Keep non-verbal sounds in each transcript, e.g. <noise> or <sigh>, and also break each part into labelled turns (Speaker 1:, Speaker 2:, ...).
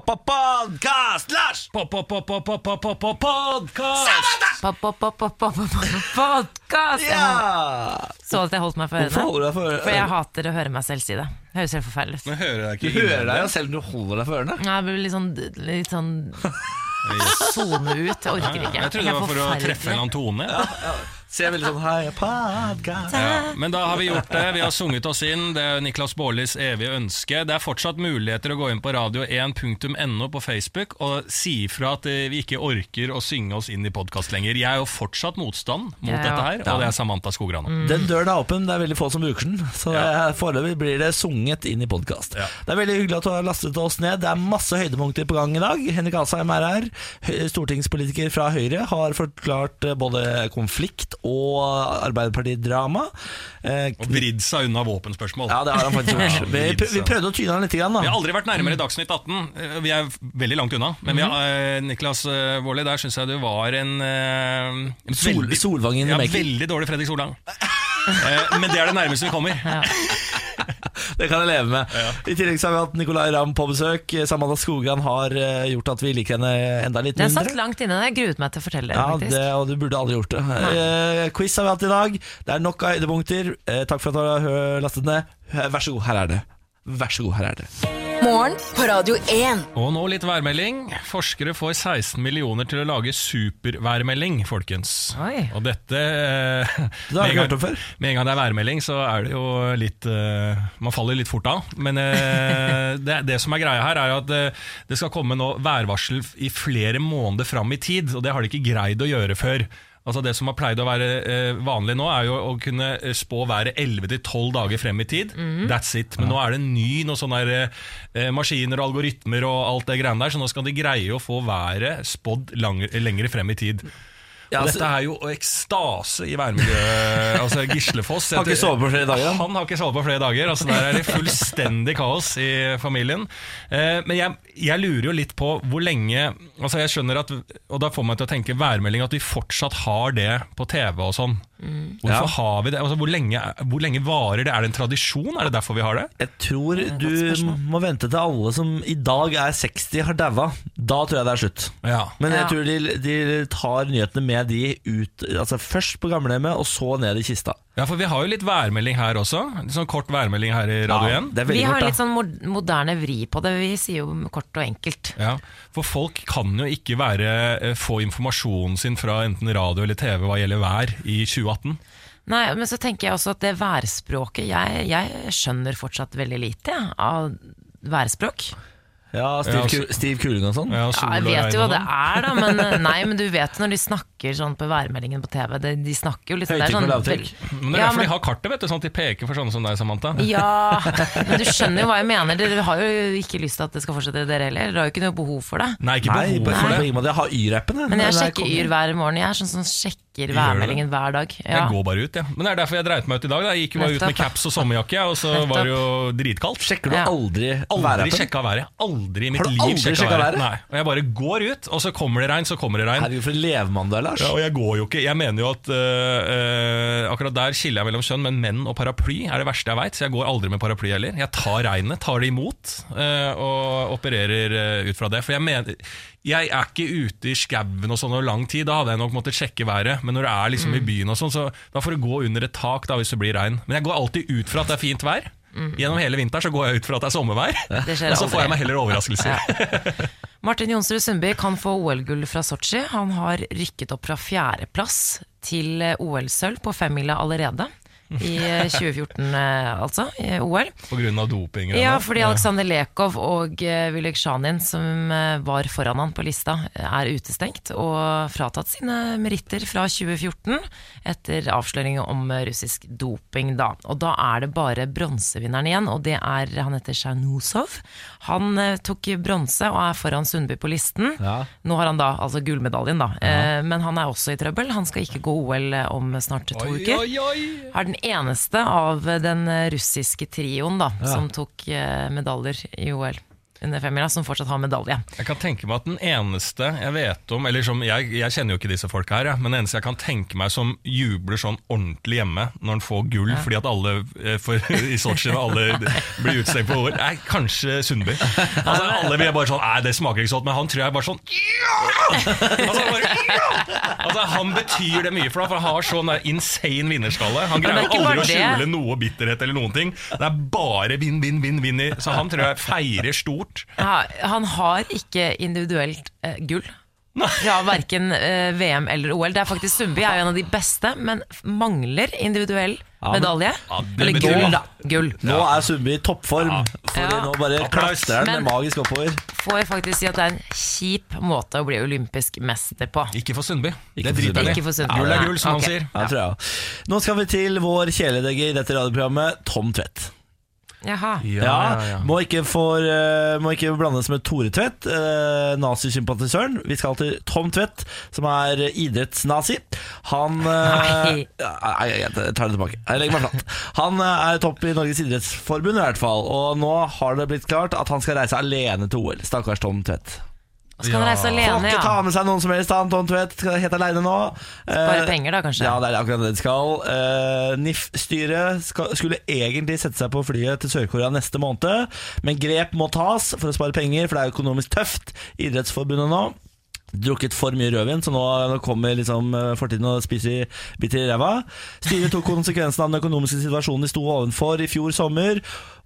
Speaker 1: Podkast, Lars!
Speaker 2: Podkast!
Speaker 3: Podkast!
Speaker 1: Ja!
Speaker 3: Så at jeg holdt meg for ørene.
Speaker 1: Hvorfor holder du deg for
Speaker 3: For jeg
Speaker 1: ørene?
Speaker 3: hater å høre meg selv si det. Det Høres helt forferdelig ut.
Speaker 2: Men hører jeg
Speaker 1: Du
Speaker 2: ikke
Speaker 1: hører deg
Speaker 2: innvendig?
Speaker 1: jo selv om du holder deg for ørene.
Speaker 3: Nei, Jeg blir litt sånn, litt sånn sone ut. Jeg
Speaker 2: Ja,
Speaker 3: orker
Speaker 2: ja.
Speaker 3: ikke.
Speaker 2: Jeg trodde det
Speaker 3: er
Speaker 2: var for å
Speaker 3: forferdelig.
Speaker 2: treffe en eller annen tone.
Speaker 1: Ser veldig sånn Hei, podcast.
Speaker 2: Ja, men da har vi gjort det. Vi har sunget oss inn. Det er Niklas Baarlis evige ønske. Det er fortsatt muligheter å gå inn på radio1.no på Facebook og si ifra at eh, vi ikke orker å synge oss inn i podkast lenger. Jeg er jo fortsatt motstand mot
Speaker 3: Ja, Mm. ja.
Speaker 2: dette her, og det er Samantha Skogran.
Speaker 1: Den døren er åpen, det er veldig få som bruker den. Så
Speaker 2: Ja.
Speaker 1: eh, foreløpig blir det sunget inn i podkast.
Speaker 2: Ja.
Speaker 1: Det er veldig hyggelig at du har lastet oss ned. Det er masse høydepunkter på gang i dag. Henrik Asheim er her. Hø- Stortingspolitiker fra Høyre har forklart eh, både konflikt og Arbeiderpartidrama. Eh,
Speaker 2: Og vridd seg unna våpenspørsmål.
Speaker 1: Ja, det har han faktisk
Speaker 2: Ja, <laughs>
Speaker 1: gjort. Vi,
Speaker 2: litt
Speaker 1: vi
Speaker 2: sånn.
Speaker 1: prøvde å tyne han litt, grann,
Speaker 2: Vi
Speaker 1: da.
Speaker 2: har aldri vært nærmere Dagsnytt 18. Eh, Vi er veldig langt unna. Men vi
Speaker 1: Mhm.
Speaker 2: har, eh, Niklas eh, Baarli, der syns jeg du var en eh,
Speaker 1: Sol,
Speaker 2: veldig-
Speaker 1: Solvang in the
Speaker 2: ja,
Speaker 1: making.
Speaker 2: veldig dårlig Fredrik Solang. Eh, Men det er det nærmeste vi kommer.
Speaker 1: Det kan jeg leve med. I tillegg så har vi hatt Nicolay Ramm på besøk. Samantha Skogran har eh, gjort at vi liker henne enda litt
Speaker 3: Det er
Speaker 1: mindre.
Speaker 3: satt langt inne. Jeg gruet meg til å fortelle
Speaker 1: Ja,
Speaker 3: det,
Speaker 1: det,
Speaker 3: faktisk.
Speaker 1: og du burde aldri gjort det. Eh, quiz har vi hatt i dag. Det er nok av høydepunkter. Eh, takk for at du har hø- lastet ned. Eh, Vær så god, her er det. Vær så god, her er det.
Speaker 4: Morgen på Radio 1.
Speaker 2: Og nå litt værmelding. Forskere får 16 millioner til å lage superværmelding, folkens.
Speaker 3: Oi.
Speaker 2: Og dette eh,
Speaker 1: Det har jeg ikke
Speaker 2: med en gang-
Speaker 1: hørt om før.
Speaker 2: Med en gang det er værmelding, så er det jo litt eh, Man faller litt fort av. Men
Speaker 1: <laughs>
Speaker 2: eh, det, det som er greia her, er jo at eh, det skal komme nå værvarsel i flere måneder fram i tid, og det har de ikke greid å gjøre før. Altså Det som har pleid å være eh, vanlig nå, er jo å kunne eh, spå været 11-12 dager frem i tid.
Speaker 1: Mhm.
Speaker 2: That's it. Men nå er det en ny noe sånn der, eh, maskiner og algoritmer og alt det greiene der, så nå skal de greie å få været spådd lang, lengre frem i tid.
Speaker 1: Ja,
Speaker 2: Og
Speaker 1: altså-
Speaker 2: dette er jo ekstase i
Speaker 1: <laughs>
Speaker 2: værmiljøet. altså Gislefoss
Speaker 1: Har ikke sovet på flere dager, han.
Speaker 2: Han har ikke sovet på flere dager. altså Der er det fullstendig kaos i familien. Eh, men jeg, jeg lurer jo litt på hvor lenge altså Jeg skjønner at Og da får meg til å tenke værmelding at vi fortsatt har det på TV og sånn. Hvorfor
Speaker 1: Ja.
Speaker 2: har vi det? Altså hvor lenge, hvor lenge varer det? Er det en tradisjon? Er det derfor vi har det?
Speaker 1: Jeg tror du må vente til alle som i dag er 60 har daua. Da tror jeg det er slutt.
Speaker 2: Ja.
Speaker 1: Men jeg
Speaker 3: Ja.
Speaker 1: tror de, de tar nyhetene med de ut Altså først på gamlehjemmet, og så ned i kista.
Speaker 2: ja, for vi har jo litt værmelding her også. Litt sånn kort værmelding her i Radio 1.
Speaker 1: det er
Speaker 3: Vi
Speaker 1: veldig
Speaker 3: har
Speaker 1: kort,
Speaker 3: litt sånn mod- moderne vri på det. Vi sier jo kort og enkelt.
Speaker 2: Ja, For folk kan jo ikke være, eh, få informasjonen sin fra enten radio eller TV hva gjelder vær i 2018.
Speaker 3: Nei, men så tenker jeg også at det værspråket Jeg, jeg skjønner fortsatt veldig lite jeg, av værspråk.
Speaker 1: da. Ja,
Speaker 2: Ja,
Speaker 1: Stiv,
Speaker 2: altså-
Speaker 1: Ku- Stiv Kuling og sånn.
Speaker 2: Ja,
Speaker 3: Ja, jeg vet jo hva det
Speaker 2: sånn.
Speaker 3: er, da, men, eh, nei, men du vet når de snakker sånn på værmeldingen på TV det, De snakker jo litt
Speaker 1: Høytrykk
Speaker 3: sånn,
Speaker 1: og lavtrykk.
Speaker 3: vel-
Speaker 2: Men det er
Speaker 3: Ja,
Speaker 2: derfor de har kartet, vet du, sånn at de peker for sånne som deg, Samantha.
Speaker 3: Ja, men du skjønner jo hva jeg mener. Dere har jo ikke lyst til at det skal fortsette, dere heller. Dere har jo ikke noe behov for det.
Speaker 2: Nei, ikke
Speaker 1: Nei,
Speaker 2: behov
Speaker 1: på,
Speaker 2: for
Speaker 1: på
Speaker 2: det.
Speaker 1: ingen måte. Jeg har Y-rappen, jeg.
Speaker 3: Men
Speaker 1: Den
Speaker 3: jeg
Speaker 1: er
Speaker 3: sjekker Yr
Speaker 1: kongen.
Speaker 3: hver morgen. Jeg er sånn som sjekker
Speaker 2: det?
Speaker 3: værmeldingen hver dag. Ja.
Speaker 2: Jeg går bare ut, jeg. Men det er derfor jeg dreit meg ut i dag. Da. Jeg gikk jo bare ut
Speaker 3: Nettopp.
Speaker 2: med caps og sommerjakke, jeg, og så
Speaker 3: Nettopp.
Speaker 2: var det jo dritkaldt.
Speaker 1: Sjekker du
Speaker 3: Ja.
Speaker 1: aldri
Speaker 2: Aldri
Speaker 1: værappen?
Speaker 2: sjekka været. Aldri i mitt
Speaker 1: Har du
Speaker 2: liv
Speaker 1: aldri
Speaker 2: sjekket
Speaker 1: sjekket været?
Speaker 2: Nei. Og jeg bare går ut, og så kommer det regn, så kommer det regn.
Speaker 1: Herregud, for en levemann du er, Lars.
Speaker 2: Ja, og jeg går jo ikke. Jeg mener jo at øh, øh, akkurat der skiller jeg mellom kjønn, men menn og paraply er det verste jeg veit, så jeg går aldri med paraply heller. Jeg tar regnet, tar det imot, øh, og opererer øh, ut fra det. For jeg mener Jeg er ikke ute i skauen og sånn over lang tid, da hadde jeg nok måttet sjekke været. Men når det er liksom i
Speaker 3: Mm.
Speaker 2: byen og sånn, så da får du gå under et tak da hvis det blir regn. Men jeg går alltid ut fra at det er fint vær. Gjennom hele vinteren så går jeg ut fra at det er sommervær,
Speaker 3: Mm. Det skjer
Speaker 2: <laughs> og så
Speaker 3: aldri.
Speaker 2: får jeg meg heller overraskelser.
Speaker 3: Martin Jonsrud Sundby kan få OL-gull fra Sotsji. Han har rykket opp fra fjerdeplass til eh, OL-sølv på femmila allerede. I
Speaker 2: <laughs>
Speaker 3: eh, 2014, eh, altså. I OL.
Speaker 2: På grunn av doping. og
Speaker 3: Ja,
Speaker 2: sånn.
Speaker 3: fordi Aleksander Lekov og eh, Vilek Shanin, som eh, var foran han på lista, er utestengt og fratatt sine meritter fra 2014 etter avsløringen om eh, russisk doping. Da. Og da er det bare bronsevinneren igjen, og det er han heter Sjernusov. Han eh, tok bronse og er foran Sundby på listen.
Speaker 1: Ja.
Speaker 3: Nå har han da altså gullmedaljen, da. Eh, Men han er også i trøbbel. Han skal ikke gå OL om snart to
Speaker 2: Oi,
Speaker 3: uker
Speaker 2: oi, oi.
Speaker 3: er den eneste av den russiske trioen da, som tok eh, medaljer i OL. under femmila som fortsatt har medalje.
Speaker 2: Jeg kan tenke meg at den eneste jeg vet om Eller som, jeg, jeg kjenner jo ikke disse folka her, jeg, men den eneste jeg kan tenke meg som jubler sånn ordentlig hjemme når han får gull fordi at alle eh, for, i Sotsji og alle blir utestengt på OL, er kanskje Sundby. Altså, alle blir bare sånn Nei, det smaker ikke sånn, men han tror jeg er bare sånn ja! altså, han bare, ja! altså, Han betyr det mye for deg, for han har sånn der insane vinnerskalle. Han
Speaker 3: Men det er
Speaker 2: greier
Speaker 3: ikke
Speaker 2: aldri å
Speaker 3: bare
Speaker 2: skjule
Speaker 3: det.
Speaker 2: noe bitterhet eller noen ting. Det er bare vinn, vinn, vinn, vinn i Så han tror jeg feirer stort.
Speaker 3: Ja, han har ikke individuelt eh, gull. Fra verken eh, VM eller OL. Det er faktisk Sundby er jo en av de beste, men f- mangler individuell
Speaker 1: men-
Speaker 3: medalje.
Speaker 2: Ja, det
Speaker 3: eller
Speaker 2: betyr
Speaker 3: gull,
Speaker 2: mye.
Speaker 3: da. Gull.
Speaker 1: Nå er Sundby i toppform, Fordi
Speaker 3: Ja.
Speaker 1: nå bare
Speaker 2: Applaus.
Speaker 1: klatrer den
Speaker 3: Men-
Speaker 1: magisk oppover.
Speaker 3: Får jeg faktisk si at det er en kjip måte å bli olympisk mester på.
Speaker 2: Ikke for Sundby.
Speaker 1: Ikke
Speaker 2: det
Speaker 1: for
Speaker 2: driter
Speaker 1: Sundby.
Speaker 2: han i.
Speaker 3: Ikke for Sundby.
Speaker 2: Gull er
Speaker 3: Nei,
Speaker 2: gull, som
Speaker 3: ok.
Speaker 2: han sier.
Speaker 1: Ja, tror jeg. også. Nå skal vi til vår kjæledegge i dette radioprogrammet, Tom Tvedt.
Speaker 3: Jaha.
Speaker 1: Ja, Må, ikke for, eh, må ikke blandes med Tore Tvedt, uh, nazisympatisøren. Vi skal til Tom Tvedt, som er idrettsnazi. Han eh,
Speaker 3: Nei.
Speaker 1: Nei, jeg tar det tilbake. Jeg legger meg flat. Han eh, er topp i Norges idrettsforbund, i hvert fall. Og nå har det blitt klart at han skal reise alene til OL. Stakkars Tom Tvedt.
Speaker 3: Skal han reise
Speaker 1: Får
Speaker 3: alene,
Speaker 1: ikke ta
Speaker 3: ja.
Speaker 1: med seg noen som helst, han Tom Tvedt skal helt aleine nå.
Speaker 3: Bare
Speaker 1: Eh,
Speaker 3: penger, da, kanskje.
Speaker 1: Ja, det er akkurat det de skal. Eh, NIF-styret skal- skulle egentlig sette seg på flyet til Sør-Korea neste måned, men grep må tas for å spare penger, for det er økonomisk tøft i Idrettsforbundet nå. Drukket for mye rødvin, så nå nå kommer liksom eh, fortiden og spiser biter i ræva. Styret tok konsekvensen av den økonomiske situasjonen de sto ovenfor i fjor sommer.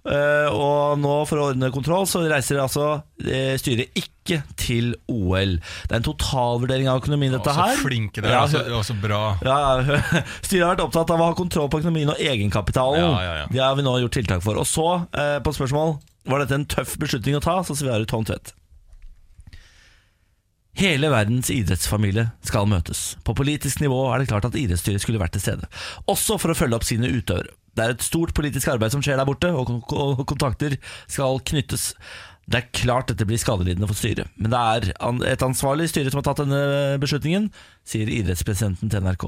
Speaker 1: eh, Og nå, for å ordne kontroll, så reiser altså eh, styret ikke til OL. Det er en totalvurdering av økonomien, dette her.
Speaker 2: Så flinke dere
Speaker 1: Ja,
Speaker 2: er, altså. og så- og så bra.
Speaker 1: ja, ja. <laughs> Styret har vært opptatt av å ha kontroll på økonomien og egenkapitalen.
Speaker 2: Ja, ja, ja.
Speaker 1: Det har vi nå gjort tiltak for. Og så, eh, på spørsmål var dette en tøff beslutning å ta, så svarer Tom Tvedt. Hele verdens idrettsfamilie skal møtes. På politisk nivå er det klart at idrettsstyret skulle vært til stede. Også for å følge opp sine utøvere. Det er et stort politisk arbeid som skjer der borte, og kon- og kontakter skal knyttes. Det er klart dette blir skadelidende for styret, men det er an- et ansvarlig styre som har tatt denne beslutningen, sier idrettspresidenten til NRK.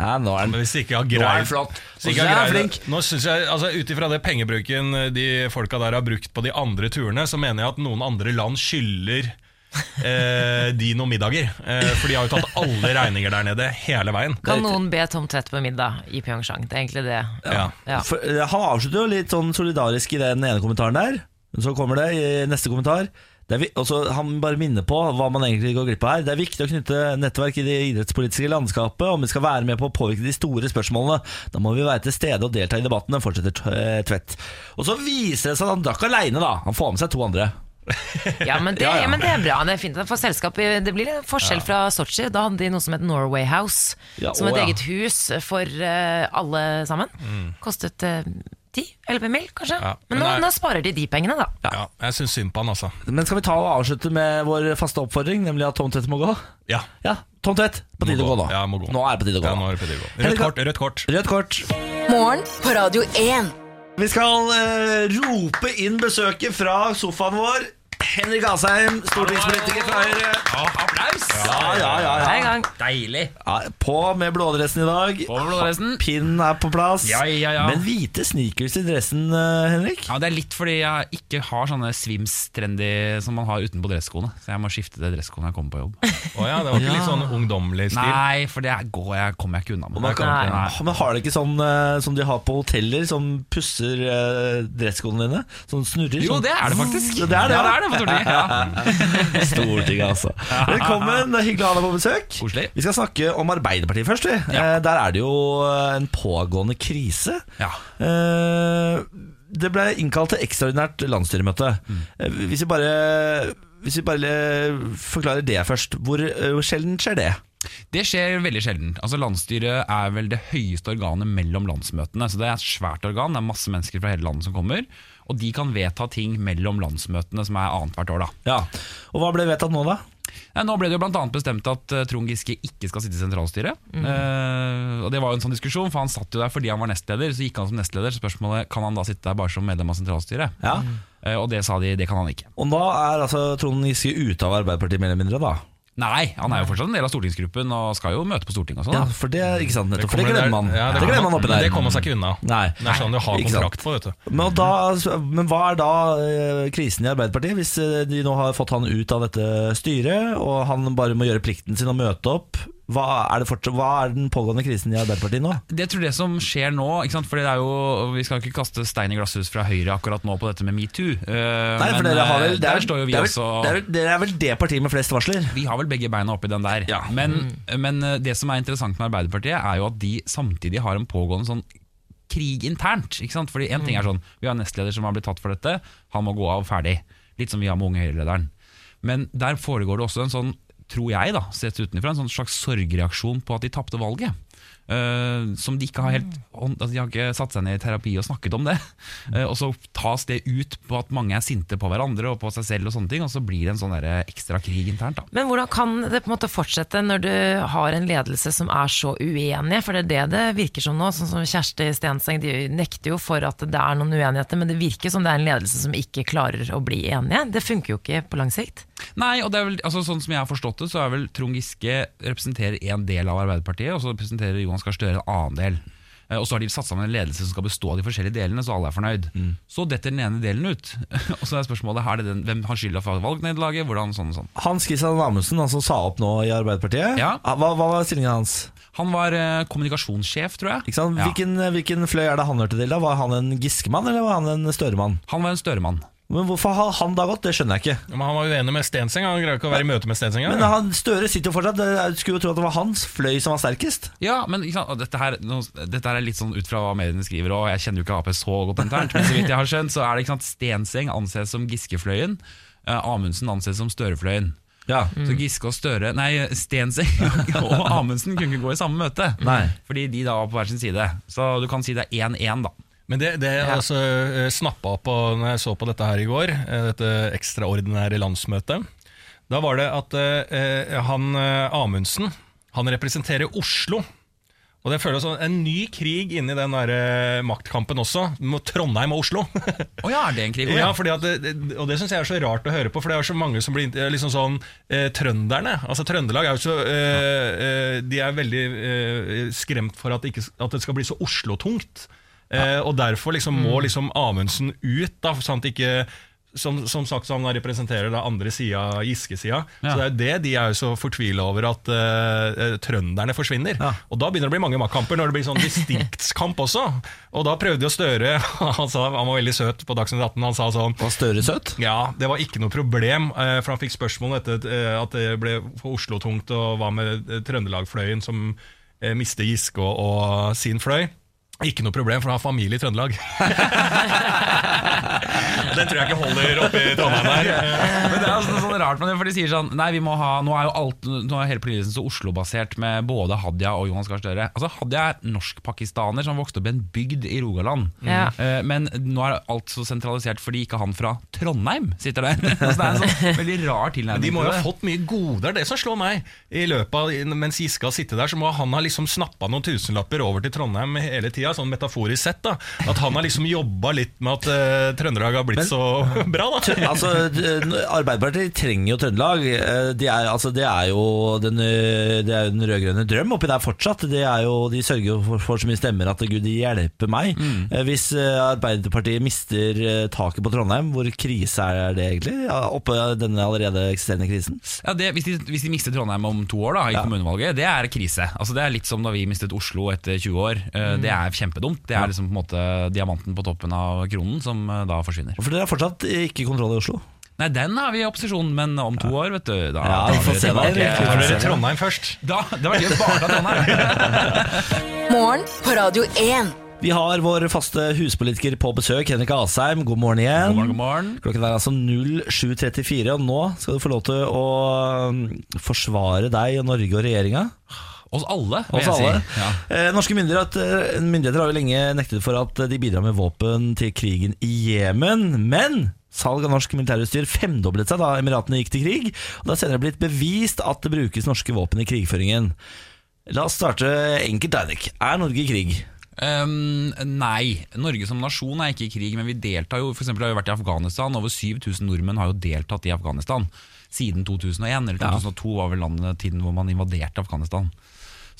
Speaker 1: Ja, nå er
Speaker 2: Men
Speaker 1: den
Speaker 2: hvis ikke jeg har
Speaker 1: Nå er
Speaker 2: greid
Speaker 1: han flott.
Speaker 2: Hvis ikke jeg
Speaker 1: Nå er
Speaker 2: har
Speaker 1: han
Speaker 2: greid
Speaker 1: flink.
Speaker 2: Nå synes jeg, altså Ut ifra det pengebruken eh, de folka der har brukt på de andre turene, så mener jeg at noen andre land skylder eh, de noen middager. Eh, for de har jo tatt alle regninger der nede hele veien.
Speaker 3: Kan noen be Tom Tvedt på middag i Pyeongchang? Det er egentlig det.
Speaker 2: Ja.
Speaker 3: Ja.
Speaker 1: For, eh, han avslutter jo litt sånn solidarisk i den ene kommentaren der. Men så kommer det i neste kommentar. Det er, vi- også, han bare minner på hva man egentlig går glipp av her. Det er viktig å knytte nettverk i det idrettspolitiske landskapet om vi skal være med på å påvirke de store spørsmålene. Da må vi være til stede og delta i debattene, fortsetter T- eh, Tvedt. Og så viser det seg at han drakk aleine, da. Han får med seg to andre.
Speaker 3: Ja, men det,
Speaker 1: Ja, ja.
Speaker 3: ja, men det er bra. Det er fint at han får selskap. i- Det blir en forskjell fra Sotsji. Da hadde de noe som het Norway House.
Speaker 1: Ja,
Speaker 3: som
Speaker 1: å,
Speaker 3: et
Speaker 1: ja. Mm.
Speaker 3: eget hus for eh, alle sammen. Kostet eh, 10-11 mil, kanskje.
Speaker 2: Ja,
Speaker 3: Men,
Speaker 2: men
Speaker 3: nå,
Speaker 2: det er-
Speaker 3: nå sparer de de pengene, da.
Speaker 2: Ja, jeg syns synd på han, altså.
Speaker 1: Men skal vi ta og avslutte med vår faste oppfordring, nemlig at Tom Tvedt må gå?
Speaker 2: Ja,
Speaker 1: Ja, Tom Tvedt, på
Speaker 2: må
Speaker 1: tide å
Speaker 2: gå.
Speaker 1: gå nå.
Speaker 2: Ja, må gå.
Speaker 1: Nå er det på tide å gå.
Speaker 2: ja nå er det på tide å gå. Rødt kort, rødt kort.
Speaker 1: Rødt kort.
Speaker 4: Morgen på Radio 1.
Speaker 1: Vi skal eh, rope inn besøket fra sofaen vår. Henrik Asheim, stortingspolitiker fra Høyre.
Speaker 2: Ja, applaus!
Speaker 1: Ja, ja, ja,
Speaker 3: Det er i
Speaker 1: ja.
Speaker 3: gang.
Speaker 5: Deilig.
Speaker 1: ja. På med blådressen i dag.
Speaker 5: På med blådressen.
Speaker 1: Pinnen er på plass.
Speaker 5: Ja, ja, ja.
Speaker 1: Men hvite sneakers i dressen, eh, Henrik?
Speaker 5: Ja, Det er litt fordi jeg ikke har sånne swims-trendy som man har utenpå dresskoene. Så jeg må skifte det dresskoene når jeg kommer på jobb.
Speaker 2: Å ja, det var ikke litt sånn ungdommelig stil?
Speaker 5: Nei, for det er- går jeg, kommer jeg ikke unna med.
Speaker 1: Man kan,
Speaker 5: Nei.
Speaker 1: Åh, Men har det ikke sånn eh, som de har på hoteller, som pusser eh, dresskoene dine? Sånn snurrer?
Speaker 5: Jo,
Speaker 1: sånn-
Speaker 5: det er det faktisk.
Speaker 1: Ja, det er det,
Speaker 5: ja,
Speaker 1: ja.
Speaker 5: det, er det på Tordi. Ja.
Speaker 1: Stortinget, altså. Velkommen, det er hyggelig å ha deg på besøk.
Speaker 5: Koselig.
Speaker 1: Vi skal snakke om Arbeiderpartiet først. Vi.
Speaker 5: Ja.
Speaker 1: Eh, Der er det jo eh, en pågående krise.
Speaker 5: Ja.
Speaker 1: Eh, Det ble innkalt til ekstraordinært landsstyremøte. Eh, Hvis vi bare hvis vi bare forklarer det først, hvor eh, sjelden skjer det?
Speaker 5: Det skjer veldig sjelden. Altså Landsstyret er vel det høyeste organet mellom landsmøtene. Så Det er et svært organ, det er masse mennesker fra hele landet som kommer. Og de kan vedta ting mellom landsmøtene, som er annethvert år. da
Speaker 1: Ja. Og hva ble vedtatt nå, da?
Speaker 5: Ja, nå ble det jo blant annet bestemt at eh, Trond Giske ikke skal sitte i sentralstyret.
Speaker 1: Mhm.
Speaker 5: Eh, og Det var jo en sånn diskusjon, for han satt jo der fordi han var nestleder. Så gikk han som nestleder, så spørsmålet kan han da sitte der bare som medlem av sentralstyret.
Speaker 1: Ja.
Speaker 5: Eh, og det sa de, det kan han ikke.
Speaker 1: Og da er altså Trond Giske ute av Arbeiderpartiet, mer eller mindre? da
Speaker 5: Nei, han er jo fortsatt en del av stortingsgruppen og skal jo møte på Stortinget og sånn.
Speaker 1: Ja,
Speaker 5: da.
Speaker 1: for det, ikke sant, nettopp, for det
Speaker 2: kommer
Speaker 1: glemmer
Speaker 2: der-
Speaker 1: man.
Speaker 2: Ja,
Speaker 1: det, glemmer man oppi der.
Speaker 2: Det kommer seg ikke unna.
Speaker 1: Nei.
Speaker 2: Det er sånn du har
Speaker 1: Ikke sant.
Speaker 2: kontrakt på, vet du.
Speaker 1: Men, og da, men hva er da eh, krisen i Arbeiderpartiet, hvis eh, de nå har fått han ut av dette styret, og han bare må gjøre plikten sin og møte opp? Hva er, det fortsatt, hva er den pågående krisen i Arbeiderpartiet nå?
Speaker 5: Det jeg tror det som skjer nå ikke sant? For det er jo, Vi skal ikke kaste stein i glasshus fra Høyre akkurat nå på dette med metoo. eh,
Speaker 1: Nei, for dere har vel, det er,
Speaker 5: der står jo vi
Speaker 1: det er,
Speaker 5: også
Speaker 1: vel, det er, vel- dere er vel det partiet med flest varsler?
Speaker 5: vi har vel begge beina oppi den der.
Speaker 1: Ja.
Speaker 5: Men, men eh, det som er interessant med Arbeiderpartiet, er jo at de samtidig har en pågående sånn krig internt. Ikke sant? Fordi en ting er sånn, Vi har en nestleder som har blitt tatt for dette, han må gå av ferdig. Litt som vi har med Unge Høyre-lederen. Men der foregår det også en sånn, tror jeg, da, sett utenfra, en sånn slags sorgreaksjon på at de tapte valget. Eh, som de ikke har helt altså De har ikke satt seg ned i terapi og snakket om det. Eh, og så tas det ut på at mange er sinte på hverandre og på seg selv, og sånne ting Og så blir det en sånn der ekstra krig internt. da
Speaker 3: Men hvordan kan det på en måte fortsette når du har en ledelse som er så uenige? For det er det det virker som nå. Sånn som Kjersti Stenseng de nekter jo for at det er noen uenigheter, men det virker som det er en ledelse som ikke klarer å bli enige. Det funker jo ikke på lang sikt.
Speaker 5: Nei, og det er vel, altså sånn som jeg har forstått det, så er vel Trond Giske representerer en del av Arbeiderpartiet, og så representerer Johan Gahr Støre en annen del. Eh, Og så har de satt sammen en ledelse som skal bestå av de forskjellige delene, så alle er fornøyd.
Speaker 1: Mm.
Speaker 5: Så detter den ene delen ut. <laughs> og så er spørsmålet er det den, hvem har skylda for valgnederlaget, hvordan sånn og sånn.
Speaker 1: Hans Christian Amundsen, han som sa opp nå i Arbeiderpartiet, Ah,
Speaker 5: Ja.
Speaker 1: hva, hva var stillingen hans?
Speaker 5: Han var eh, kommunikasjonssjef, tror jeg.
Speaker 1: Ikke sant?
Speaker 5: Ja.
Speaker 1: Hvilken, eh, hvilken fløy er det han hørte til da? Var han en Giske-mann, eller var han en Støre-mann?
Speaker 5: Han var en Støre-mann.
Speaker 1: Men hvorfor har han da gått, det skjønner jeg ikke.
Speaker 2: Ja, Men han var uenig med Stenseng. Han greier ikke å være i møte med Stenseng.
Speaker 1: Men
Speaker 2: ja.
Speaker 1: han, Støre sitter jo fortsatt, jeg skulle jo tro at det var hans fløy som var sterkest.
Speaker 5: Ja, men ikke sant? og Dette, her, nå, dette her er litt sånn ut fra hva mediene skriver, og jeg kjenner jo ikke Ap så godt internt, men så vidt jeg har skjønt, så er det ikke sant Stenseng anses som Giskefløyen, eh, Amundsen anses som Størefløyen.
Speaker 1: Ja.
Speaker 5: Så Giske og Støre Nei, Stenseng <laughs> og Amundsen kunne ikke gå i samme møte.
Speaker 1: Nei.
Speaker 5: Fordi de da var på hver sin side. Så du kan si det er 1-1, da.
Speaker 2: Men det, det jeg altså, eh, snappa opp på når jeg så på dette her i går, eh, dette ekstraordinære landsmøtet. Da var det at eh, eh, han eh, Amundsen han representerer Oslo. Og det føles som en ny krig inni den der eh, maktkampen også, mot Trondheim og Oslo. <laughs>
Speaker 5: Å ja, er det en krig? Å,
Speaker 2: Ja,
Speaker 5: ja.
Speaker 2: fordi at det, det- og det syns jeg er så rart å høre på, for det er så mange som blir eh, liksom sånn eh, Trønderne, altså Trøndelag er jo så eh, eh, De er veldig eh, skremt for at det, ikke, at det skal bli så Oslo-tungt. Eh, og derfor liksom må liksom Amundsen ut, da, sånn at ikke som, som sagt, så han da representerer da andre sida, Giske-sida. Så det er jo det de er jo så fortvila over, at eh, eh, trønderne forsvinner. Og da begynner det å bli mange maktkamper, når det blir sånn distriktskamp også. Og da prøvde jo Støre <laughs> Han, sa, han var veldig søt på Dagsnytt 18, han sa sånn
Speaker 1: Var Støre søt?
Speaker 2: ja, det var ikke noe problem, eh, for han fikk spørsmål etter eh, at det ble for Oslo tungt, og hva med eh, Trøndelag-fløyen som eh, mister Giske og, og sin fløy? Ikke noe problem, for han har familie i <laughs> Trøndelag. Den tror jeg ikke holder oppe i Trondheim her.
Speaker 5: Men det er altså sånn rart med det, for de sier sånn Nei, vi må ha Nå er jo alt Nå er hele politikken så Oslo-basert med både Hadia og Johan Gahr Støre. Altså, Hadia er norsk-pakistaner som vokste opp i en bygd i Rogaland.
Speaker 3: Ja.
Speaker 5: Eh, Men nå er alt så sentralisert fordi ikke han fra Trondheim sitter der. <laughs> Så det er en sånn veldig rar tilnærming.
Speaker 2: De må jo
Speaker 5: til
Speaker 2: ha
Speaker 5: det.
Speaker 2: fått mye goder, det som slår meg. I løpet av, Mens Giske har sittet der, så må han ha liksom snappa noen tusenlapper over til Trondheim hele tida, sånn metaforisk sett. da At han har liksom jobba litt med at eh, Trøndelag har blitt så <laughs> bra, da.
Speaker 1: altså, d- Arbeiderpartiet trenger jo Trøndelag. Eh, De er, altså, det er jo den, ø, det er jo den rød-grønne drøm oppi der fortsatt. Det er jo, de sørger jo for, for så mye stemmer at gud hjelpe meg. Eh, Hvis eh, Arbeiderpartiet mister eh, taket på Trondheim, hvor krise er det egentlig? Ja, Oppe denne allerede eksisterende krisen?
Speaker 5: Ja, det, hvis, de, hvis de mister Trondheim om to år da, i kommunevalget, det er krise. Altså, det er litt som da vi mistet Oslo etter 20 år. Eh, Det er kjempedumt. Det er liksom på en måte diamanten på toppen av kronen som eh, da forsvinner.
Speaker 1: For dere har fortsatt ikke kontroll i Oslo.
Speaker 5: Nei, den har vi i opposisjon, men om to år, vet du Da,
Speaker 1: Ja,
Speaker 5: da
Speaker 1: vi
Speaker 5: er
Speaker 1: får
Speaker 5: vi
Speaker 1: se da.
Speaker 5: tilbake.
Speaker 1: Vi får
Speaker 2: Har dere Trondheim først?
Speaker 5: Da, det var gøy å bare ta
Speaker 1: <laughs>
Speaker 5: Trondheim.
Speaker 4: Morgen på Radio 1.
Speaker 1: Vi har vår faste huspolitiker på besøk, Henrik Asheim. God morgen igjen.
Speaker 5: God morgen, god morgen.
Speaker 1: Klokken er altså 07.34, og nå skal du få lov til å mm, forsvare deg og Norge og regjeringa.
Speaker 5: Oss alle, vil
Speaker 1: Oss
Speaker 5: jeg
Speaker 1: alle.
Speaker 5: si. Ja.
Speaker 1: Eh, Norske myndigheter, eh, myndigheter har jo lenge nektet for at de bidrar med våpen til krigen i Jemen. Men salg av norsk militærutstyr femdoblet seg da Emiratene gikk til krig. Og det har senere blitt bevist at det brukes norske våpen i krigføringen. La oss starte enkelt, Eirik. Er Norge i krig?
Speaker 5: Um, nei. Norge som nasjon er ikke i krig, men vi deltar jo. For eksempel har vi vært i Afghanistan. Over 7000 nordmenn har jo deltatt i Afghanistan siden 2001. Eller 2002 var vel landet tiden hvor man invaderte Afghanistan.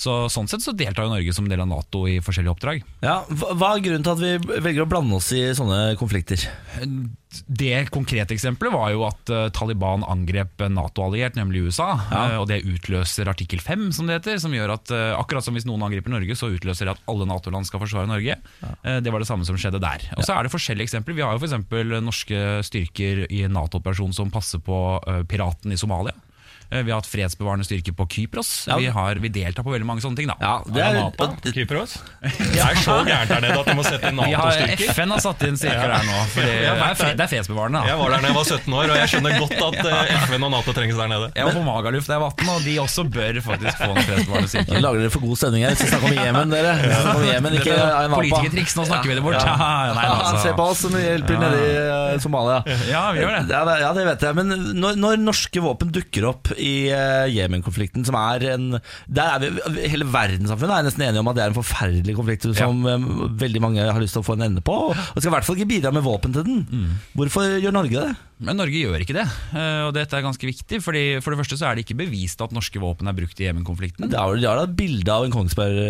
Speaker 5: Så Sånn sett så deltar jo Norge som del av Nato i forskjellige oppdrag.
Speaker 1: Ja, hva hva er grunnen til at vi velger å blande oss i sånne konflikter?
Speaker 5: Det konkrete eksempelet var jo at eh, Taliban angrep en NATO-alliert, nemlig USA. eh, Og det utløser artikkel 5, som det heter. Som gjør at eh, akkurat som hvis noen angriper Norge, så utløser det at alle Nato-land skal forsvare Norge. Eh, Det var det samme som skjedde der. Og så er det forskjellige eksempler. Vi har jo f.eks. norske styrker i en Nato-operasjon som passer på eh, piraten i Somalia. Eh, Vi har hatt fredsbevarende styrker på Kypros.
Speaker 1: Ja.
Speaker 5: Vi, har, vi deltar på veldig mange sånne ting, da.
Speaker 1: det er,
Speaker 2: Kypros?
Speaker 5: <laughs>
Speaker 2: Det er så gærent er det at de må sette inn
Speaker 5: Vi har,
Speaker 2: Nato-styrker.
Speaker 5: FN har satt inn styrker der nå. For det,
Speaker 2: Ja,
Speaker 5: det, er, fre- det er fredsbevarende. Da.
Speaker 2: Jeg var der da jeg var 17 år, og jeg skjønner godt at eh, FN og Nato trengs der nede.
Speaker 5: Jeg var på Magaluf da jeg var 18, og de også bør faktisk få en fredsbevarende styrke.
Speaker 1: Nå lager dere for god stemning her. Vi skal snakke om Jemen, dere. Vi skal snakke om Jemen, ikke Ayanapa.
Speaker 5: Politikertriks, nå snakker vi det bort. Ja. Nei,
Speaker 1: Ja,
Speaker 5: altså.
Speaker 1: Se på oss som hjelper nede i eh, Somalia.
Speaker 5: Ja, vi gjør det.
Speaker 1: Ja, det- ja, det vet jeg. Men når, når norske våpen dukker opp i eh, Jemen-konflikten, som er en Der er vi, Hele verdenssamfunnet er nesten enige om at det er en forferdelig konflikt som eh, veldig mange har lyst til å få en ende på. Og skal i hvert fall ikke bidra med våpen til den. Hvorfor gjør Norge det?
Speaker 5: Men Norge gjør ikke det, Eh, og dette er ganske viktig. Fordi for det første så er det ikke bevist at norske våpen er brukt i Jemen-konflikten.
Speaker 1: Det er vel- De har da et bilde av en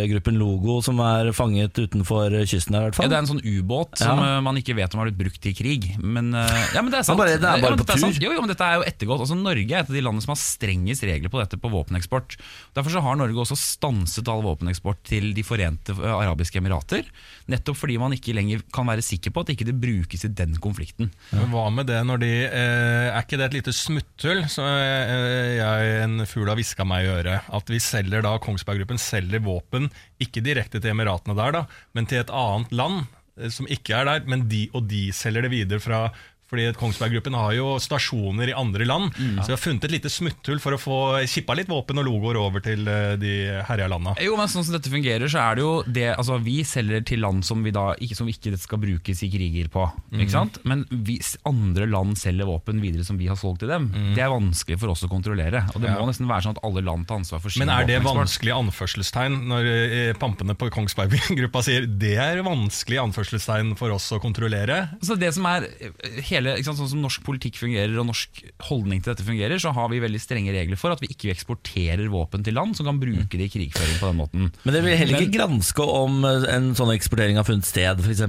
Speaker 1: Kongsberg-gruppen-logo som er fanget utenfor kysten her, i hvert
Speaker 5: Ja,
Speaker 1: fall.
Speaker 5: det er en sånn ubåt som eh, man ikke vet om har blitt brukt i krig. Men, eh, ja, men det er sant.
Speaker 1: Ja, bare- det er bare
Speaker 5: Ja, men
Speaker 1: på
Speaker 5: dette
Speaker 1: tur.
Speaker 5: sant. Jo, jo, men dette er jo ettergått. Altså, Norge er et av de landene som har strengest regler på dette på våpeneksport. Derfor så har Norge også stanset all våpeneksport til De forente eh, arabiske emirater. Nettopp fordi man ikke lenger kan være sikker på at ikke det brukes i den konflikten.
Speaker 2: Men hva med det når de eh, Er ikke det et lite smutthull som eh, jeg, en fugl har hviska meg i øret? At vi selger da, Kongsberg Gruppen selger våpen, ikke direkte til Emiratene der, da, men til et annet land eh, som ikke er der, men de og de selger det videre fra fordi at Kongsberg Gruppen har jo stasjoner i andre land. Så vi har funnet et lite smutthull for å få kippa litt våpen og logoer over til eh, de herja landa.
Speaker 5: Jo, men sånn som dette fungerer, så er det jo det Altså, vi selger til land som vi da ikke, som ikke skal brukes i kriger på. Ikke sant? Men hvis andre land selger våpen videre som vi har solgt til dem, det er vanskelig for oss å kontrollere. Og det
Speaker 2: Ja.
Speaker 5: må nesten være sånn at alle land tar ansvar for sin
Speaker 2: Men er det
Speaker 5: våpeneksport.
Speaker 2: vanskelig anførselstegn når eh, pampene på <laughs> Kongsberg-gruppa sier det er vanskelig anførselstegn for oss å kontrollere?
Speaker 5: Så det som er eh, hele, ikke sant, Sånn som norsk politikk fungerer og norsk holdning til dette fungerer, så har vi veldig strenge regler for at vi ikke eksporterer våpen til land som kan bruke det i krigføring på den måten.
Speaker 1: Men dere vil heller ikke granske om eh, en sånn eksportering har funnet sted, f.eks.?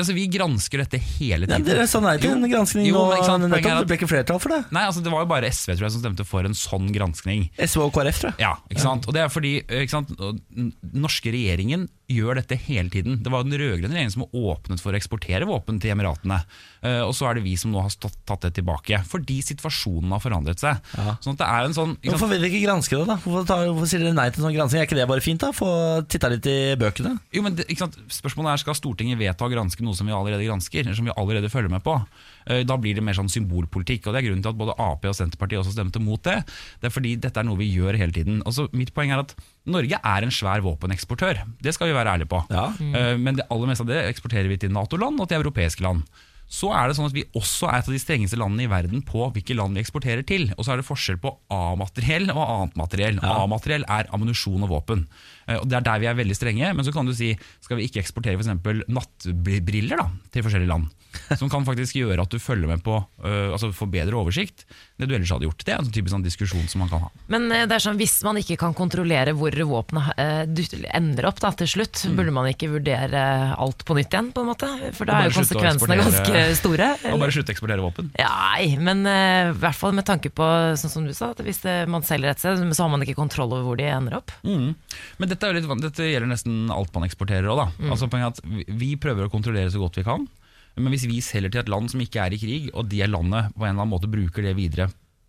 Speaker 5: Altså, Vi gransker dette hele
Speaker 1: Ja, sånn
Speaker 5: tiden.
Speaker 1: dere sa nei til
Speaker 5: Jo,
Speaker 1: en gransking
Speaker 5: jo,
Speaker 1: nå.
Speaker 5: men ikke sant, poenget
Speaker 1: nettopp,
Speaker 5: er at-
Speaker 1: det ble ikke flertall for det.
Speaker 5: Nei, altså Det var jo bare SV tror jeg som stemte for en sånn granskning.
Speaker 1: SV og KrF, tror jeg.
Speaker 5: Ja, ikke sant? Og det er fordi ikke sant? og den norske regjeringen gjør dette hele tiden. Det var jo den rød-grønne regjeringen som åpnet for å eksportere våpen til Emiratene. Eh, Og så er det vi som nå har stått, tatt det tilbake. Fordi situasjonen har forandret seg. Sånn at det er en sånn ikke sant?
Speaker 1: Hvorfor vil dere ikke granske det, da? Hvorfor, tar, hvorfor sier dere nei til en sånn gransking? Er ikke det bare fint, da? Få titta litt i bøkene?
Speaker 5: Jo, men det, ikke sant? Spørsmålet er skal Stortinget vedta å granske noe som vi allerede gransker, eller som vi allerede følger med på. Eh, Da blir det mer sånn symbolpolitikk. og Det er grunnen til at både Ap og Senterpartiet også stemte mot det. Det er fordi dette er noe vi gjør hele tiden. Altså, mitt poeng er at Norge er en svær våpeneksportør. Det skal vi være ærlige på.
Speaker 1: Ja.
Speaker 5: Eh, Men det aller meste av det eksporterer vi til Nato-land og til europeiske land. Så er det sånn at Vi også er et av de strengeste landene i verden på hvilke land vi eksporterer til. Og så er det forskjell på A-materiell og annet materiell. A-materiell er ammunisjon og våpen. Eh, Og Det er der vi er veldig strenge. Men så kan du si skal vi ikke eksportere f.eks. nattbriller da, til forskjellige land? Som kan faktisk gjøre at du følger med på eh, Altså får bedre oversikt enn det du ellers hadde gjort. Det er en sånn typisk sånn diskusjon som man kan ha.
Speaker 3: Men eh, det er sånn, hvis man ikke kan kontrollere hvor våpenet eh, du- ender opp da, til slutt,
Speaker 5: Mm.
Speaker 3: burde man ikke vurdere alt på nytt igjen, på en måte? For
Speaker 5: Og
Speaker 3: da er
Speaker 5: bare
Speaker 3: jo
Speaker 5: slutte å
Speaker 3: konsekvensene ganske
Speaker 5: eksportere-
Speaker 3: store.
Speaker 5: Og bare slutte å eksportere våpen.
Speaker 3: Nei, men eh, i hvert fall med tanke på, sånn som du sa, at hvis det, man selger et sted, så har man ikke kontroll over hvor de ender opp.
Speaker 5: Mm. Men dette, er jo litt, van- dette gjelder nesten alt man eksporterer òg, da. Altså, poenget er at vi- vi prøver å kontrollere så godt vi kan. Men hvis vi selger til et land som ikke er i krig, og det landet på en eller annen måte bruker det videre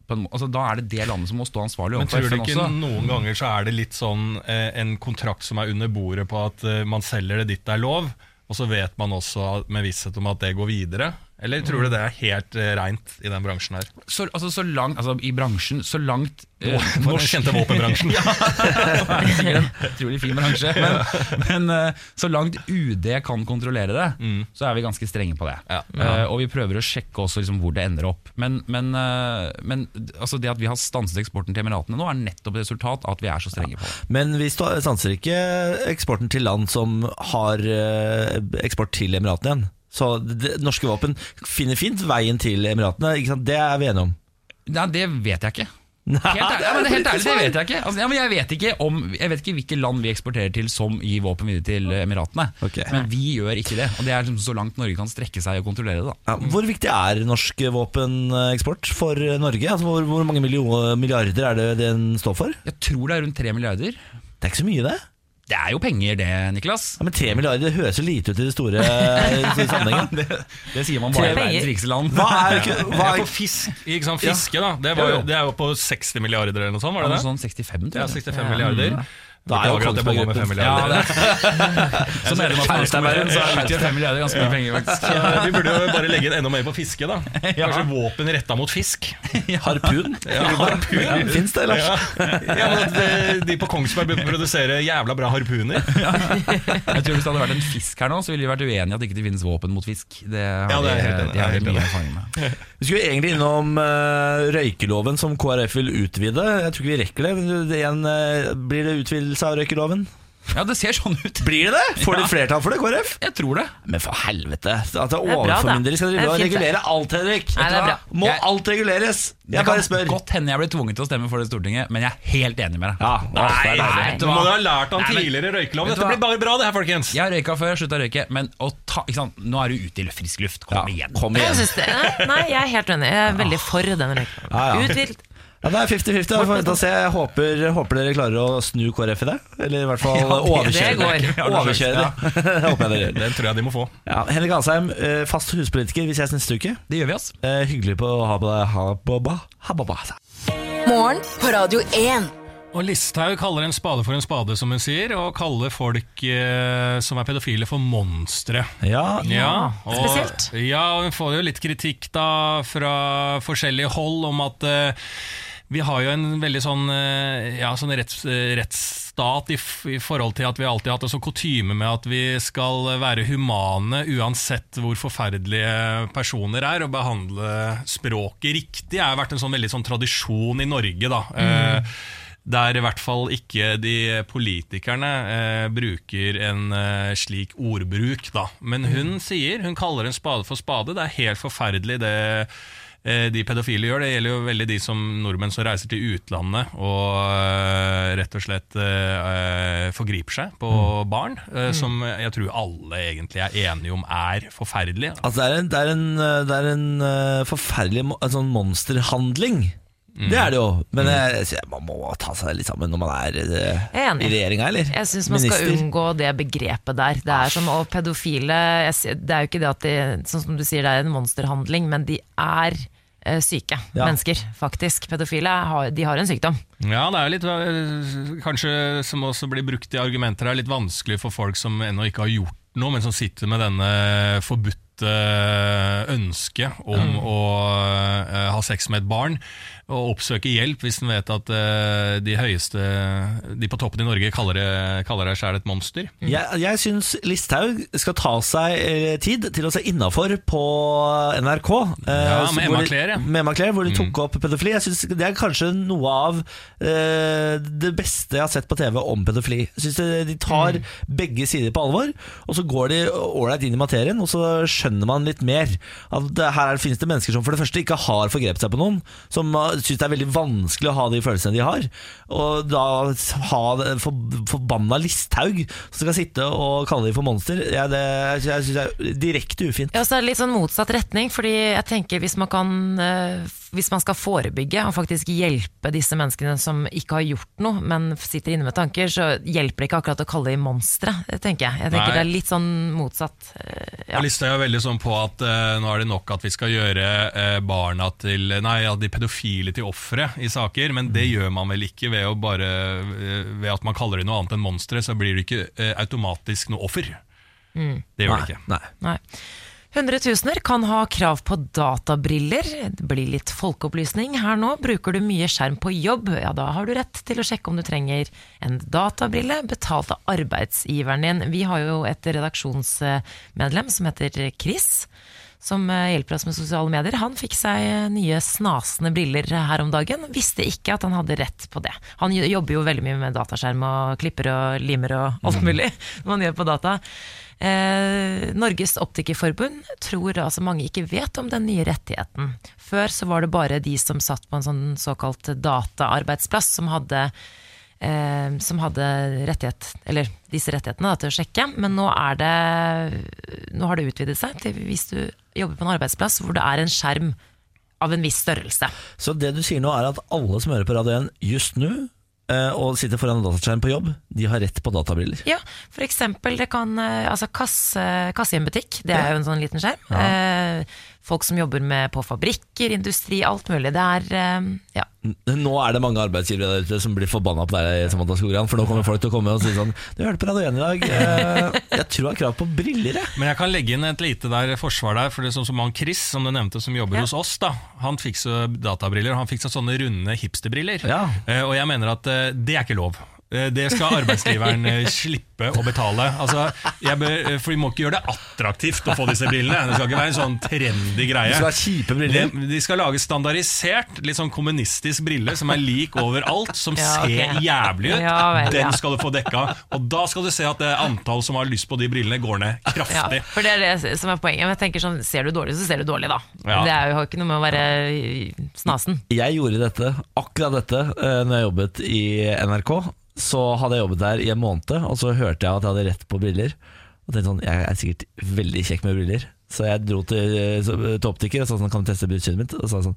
Speaker 5: på en må altså, Da er det det landet som må stå ansvarlig
Speaker 2: Men
Speaker 5: overfor
Speaker 2: tror du
Speaker 5: FN
Speaker 2: ikke
Speaker 5: også.
Speaker 2: noen ganger så er det litt sånn eh, en kontrakt som er under bordet på at eh, man selger det ditt det er lov, og så vet man også at- med visshet om at det går videre? Eller tror du det er helt eh, reint i den bransjen her?
Speaker 5: Så, altså, så langt, altså, I bransjen, så langt eh,
Speaker 2: For den kjente våpenbransjen.
Speaker 5: sikkert en utrolig fin bransje, men, men eh, så langt UD kan kontrollere det, så er vi ganske strenge på det.
Speaker 2: Ja.
Speaker 5: Eh, og vi prøver å sjekke også liksom hvor det ender opp. Men, men, eh, men altså det at vi har stanset eksporten til Emiratene nå, er nettopp et resultat av at vi er så strenge på det.
Speaker 1: Men vi sta- stanser ikke eksporten til land som har eh, eksport til Emiratene igjen. Så det, norske våpen finner fint veien til Emiratene. Ikke sant? Det er vi enige om. <laughs>
Speaker 5: Nei, det vet jeg ikke. Helt ærlig, ja, men helt ærlig, det vet jeg ikke. Altså, ja, men jeg, vet ikke om, jeg vet ikke hvilke land vi eksporterer til som gir våpen videre til eh, Emiratene.
Speaker 1: Ok.
Speaker 5: Men vi gjør ikke det. Og det er liksom så langt Norge kan strekke seg og kontrollere det. da
Speaker 1: Ja, hvor viktig er norsk våpeneksport for Norge? Altså, hvor, hvor mange millioner, milliarder er det den står for?
Speaker 5: Jeg tror det er rundt tre milliarder.
Speaker 1: Det er ikke så mye, det.
Speaker 5: Det er jo penger det, Niklas.
Speaker 1: Ja, men tre milliarder det høres jo lite ut i det <laughs> store eh, i den store sammenhengen.
Speaker 5: Det, det sier man bare i
Speaker 3: Tre
Speaker 5: verdens rikeste land. <laughs>
Speaker 1: Hva er, ikke-
Speaker 2: <laughs>
Speaker 1: hva
Speaker 2: Ja,
Speaker 1: er,
Speaker 2: for fisk, ikke sant? Fiske, da. Det, var,
Speaker 5: Jo,
Speaker 2: jo-
Speaker 5: jo.
Speaker 2: det er jo på 60 milliarder eller noe sånt, var
Speaker 5: Noe
Speaker 2: det det?
Speaker 5: sånn 65, tror
Speaker 2: Ja,
Speaker 5: jeg.
Speaker 2: 65 milliarder.
Speaker 1: Da er jo
Speaker 2: Beklager at jeg bomma med
Speaker 1: Kongsberg-gruppen.
Speaker 2: fem milliarder.
Speaker 1: <laughs>
Speaker 5: Som medlem av finanskomiteen så utgjør 5 milliarder ganske mye penger, faktisk.
Speaker 2: Så vi burde jo bare legge inn enda mer på fiske, <laughs> da. Kanskje våpen retta mot fisk.
Speaker 1: <laughs> harpun? harpun. Fins det, Lars?
Speaker 2: Ja, ja men at eh, de- De på Kongsberg burde produsere jævla bra harpuner.
Speaker 5: Jeg tror Hvis det hadde vært en fisk her nå, så ville vi vært uenige i at ikke det ikke finnes våpen mot fisk. Det har
Speaker 2: Ja, det er jeg helt
Speaker 5: de,
Speaker 2: enig i.
Speaker 5: de har
Speaker 2: Jeg er
Speaker 5: de mye
Speaker 2: helt
Speaker 5: erfaring med.
Speaker 1: Vi skulle egentlig innom eh, røykeloven som KrF vil utvide. Jeg tror ikke vi rekker det. men det igjen, eh, blir det utvidelse av røykeloven?
Speaker 5: Ja, det ser sånn ut.
Speaker 1: Blir det det? Får de flertall for det, KrF?
Speaker 5: Jeg tror det.
Speaker 1: Men for helvete. At det er
Speaker 3: er bra, da.
Speaker 1: overformyndere skal drive
Speaker 3: Det er
Speaker 1: og
Speaker 3: fint, det.
Speaker 1: regulere alt, Henrik.
Speaker 3: Nei, det er
Speaker 1: Vet du
Speaker 3: bra.
Speaker 1: hva? Må
Speaker 5: Jeg-
Speaker 1: alt reguleres?
Speaker 5: Det
Speaker 1: Jeg
Speaker 5: kan
Speaker 1: bare spør.
Speaker 5: godt hende jeg blir tvunget til å stemme for det i Stortinget, men jeg er helt enig med deg.
Speaker 1: Ja, det er deilig.
Speaker 5: Nei,
Speaker 2: Du
Speaker 5: hva?
Speaker 2: må jo ha lært han
Speaker 5: Nei, men-
Speaker 2: tidligere røykelov.
Speaker 5: Vet du
Speaker 2: Dette
Speaker 5: hva?
Speaker 2: blir bare bra, det her, folkens.
Speaker 5: Jeg har røyka før, slutta å røyke, men å ta, ikke sant? nå er du ute i frisk luft. Kom
Speaker 1: Ja,
Speaker 5: igjen.
Speaker 1: kom
Speaker 3: Jeg
Speaker 1: igjen.
Speaker 3: synes det, nei, nei, jeg er helt uenig. Jeg er veldig for den røyken.
Speaker 1: Ja, ja.
Speaker 3: Utvilt.
Speaker 1: Ja, det er 50-50. da. Vi får vente og se. Jeg håper, håper dere klarer å snu KrF i det. Eller i hvert fall
Speaker 5: Ja, det-
Speaker 1: overkjøre
Speaker 3: det går.
Speaker 1: det. Overkjøre <laughs> det. håper jeg dere gjør.
Speaker 2: Den tror jeg de må få.
Speaker 1: Ja, Henrik Asheim, eh, fast huspolitiker vi ses neste uke.
Speaker 5: Det gjør vi, altså.
Speaker 1: Eh, Hyggelig på å ha på deg. Ha på ba. Ha på ba. altså.
Speaker 4: Morgen på Radio 1.
Speaker 2: Og Listhaug kaller en spade for en spade, som hun sier, og kaller folk eh, som er pedofile, for monstre.
Speaker 1: Ja,
Speaker 2: Ja,
Speaker 3: spesielt.
Speaker 2: Ja, og hun får jo litt kritikk da fra forskjellige hold om at eh, vi har jo en veldig sånn, eh, ja, sånn retts, eh, rettsstat i, f i forhold til at vi alltid har hatt en sånn kutyme med at vi skal være humane uansett hvor forferdelige personer er, og behandle språket riktig. Det har vært en sånn veldig sånn tradisjon i Norge, da. Eh, der i hvert fall ikke de politikerne eh, bruker en eh, slik ordbruk, da. Men hun sier, hun kaller en spade for spade. Det er helt forferdelig det eh, de pedofile gjør. Det gjelder jo veldig de som nordmenn som reiser til utlandet og eh, rett og slett eh, eh, forgriper seg på barn. Eh, som jeg tror alle egentlig er enige om er forferdelig.
Speaker 1: Altså, det er en, det er en, eh, det er en eh, forferdelig mo- en sånn monsterhandling.
Speaker 3: Mm.
Speaker 1: Det er det jo. Men jeg, jeg sier, man må ta seg litt sammen når man er eh,
Speaker 3: Jeg er enig.
Speaker 1: i regjeringa, eller?
Speaker 3: Jeg syns man skal
Speaker 1: Minister.
Speaker 3: unngå det begrepet der. Det er som, og pedofile jeg, sier- Det er jo ikke det at de Sånn som du sier, det er en monsterhandling, men de er eh, syke
Speaker 1: Ja.
Speaker 3: mennesker, faktisk. Pedofile har, de har en sykdom.
Speaker 2: Ja, det er jo litt øh, Kanskje, som også blir brukt i argumenter her, litt vanskelig for folk som ennå ikke har gjort noe, men som sitter med denne forbudte ønsket om å øh, ha sex med et barn, og oppsøke hjelp hvis en vet at øh, de høyeste De på toppen i Norge kaller det- kaller deg sjæl et monster.
Speaker 1: Jeg, jeg syns Listhaug skal ta seg eh, tid til å se innafor på NRK. eh,
Speaker 2: Ja,
Speaker 1: så-
Speaker 2: med
Speaker 1: hvor
Speaker 2: Emma
Speaker 1: de-
Speaker 2: Claire, ja. Mm.
Speaker 1: Med Emma Claire, hvor de tok opp pedofili. Jeg synes Det er kanskje noe av eh, det beste jeg har sett på TV om pedofili. Jeg synes det- De tar
Speaker 2: Mm.
Speaker 1: begge sider på alvor, og så går de ålreit inn i materien, og så skjønner man litt mer. At det, her er- finnes det mennesker som for det første ikke har forgrepet seg på noen, som eh, synes det er veldig vanskelig å ha de følelsene de har. Og da ha det for, forbanna Listhaug som skal sitte og kalle de for monster, ja, det, jeg synes det er direkte ufint.
Speaker 3: Ja, så er det litt sånn motsatt retning, fordi jeg tenker hvis man, kan, eh, hvis man skal forebygge og faktisk hjelpe disse menneskene som ikke har gjort noe, men sitter inne med tanker, så hjelper det ikke akkurat å kalle dem monstre, tenker jeg. Jeg tenker
Speaker 2: Nei.
Speaker 3: det er litt sånn motsatt. eh,
Speaker 2: Ja. Listhaug er veldig sånn på at eh, nå er det nok at vi skal gjøre eh, barna til Nei, ja, de pedofile til ofre i saker, men det gjør man vel ikke ved å bare eh, Ved at man kaller det noe annet enn monstre, så blir det ikke eh, automatisk noe offer. Det gjør det ikke.
Speaker 1: Nei.
Speaker 3: Nei. Hundretusener kan ha krav på databriller. Det blir litt folkeopplysning her nå. Bruker du mye skjerm på jobb, ja da har du rett til å sjekke om du trenger en databrille betalt av arbeidsgiveren din. Vi har jo et redaksjonsmedlem som heter Chris, som eh, hjelper oss med sosiale medier. Han fikk seg eh, nye snasende briller eh, her om dagen. Visste ikke at han hadde rett på det. Han jo- jobber jo veldig mye med dataskjerm og klipper og limer og <laughs> alt mulig når man gjør på data. Eh, Norges Optikerforbund tror altså mange ikke vet om den nye rettigheten. Før så var det bare de som satt på en sånn såkalt dataarbeidsplass som hadde eh, som hadde rettighet, eller disse rettighetene da, til å sjekke. Men nå, er det, nå har det utvidet seg til hvis du jobber på en arbeidsplass hvor det er en skjerm av en viss størrelse.
Speaker 1: Så det du sier nå er at alle som hører på Radio 1 just nå, eh, og sitter foran en dataskjerm på jobb, de har rett på databriller.
Speaker 3: Ja, for eksempel det kan, eh, altså kasse, kasse i en butikk, det er jo en sånn liten skjerm. Eh, Folk som jobber med på fabrikker, industri, alt mulig. Det er, eh, ja.
Speaker 1: N- Nå er det mange arbeidsgivere der ute som blir forbanna på deg, Samantha Skogran, for nå kommer folk til å komme og si sånn Du hørte på Radio 1 i dag, <laughs> eh, jeg tror jeg har krav på briller, jeg.
Speaker 2: Men jeg kan legge inn et lite der forsvar der, for det er sånn som han Chris, som du nevnte, som jobber
Speaker 3: Ja.
Speaker 2: hos oss, da, han fikk seg databriller, han fikk seg sånne runde hipsterbriller.
Speaker 1: Ja.
Speaker 2: Eh, og jeg mener at eh, det er ikke lov. Eh, Det skal arbeidsgiveren eh, slippe å betale. Altså, jeg bør, eh, for Vi må ikke gjøre det attraktivt å få disse brillene. Det skal ikke være en sånn trendy greie.
Speaker 1: Det skal være kjipe briller.
Speaker 2: De, de skal lage standardisert, litt sånn kommunistisk brille som er lik overalt,
Speaker 1: <laughs>
Speaker 2: som
Speaker 3: Ja, ok.
Speaker 2: ser jævlig ut.
Speaker 3: Ja vel, ja.
Speaker 2: Den skal du få dekka. Og da skal du se at det antall som har lyst på de brillene, går ned
Speaker 3: ja.
Speaker 2: kraftig.
Speaker 3: For det er det som er poenget. Men jeg tenker sånn, ser du dårlig, så ser du dårlig, da.
Speaker 2: Ja.
Speaker 3: Det er jo har ikke noe med å være eh, snasen. <laughs>
Speaker 1: Jeg gjorde dette, akkurat dette, eh, når jeg jobbet i NRK. Så hadde jeg jobbet der i en måned, og så hørte jeg at jeg hadde rett på briller. Og tenkte sånn, jeg er sikkert veldig kjekk med briller. Så jeg dro til, eh, så- til optiker og sa sånn, kan du teste synet mitt? Og sa sånn,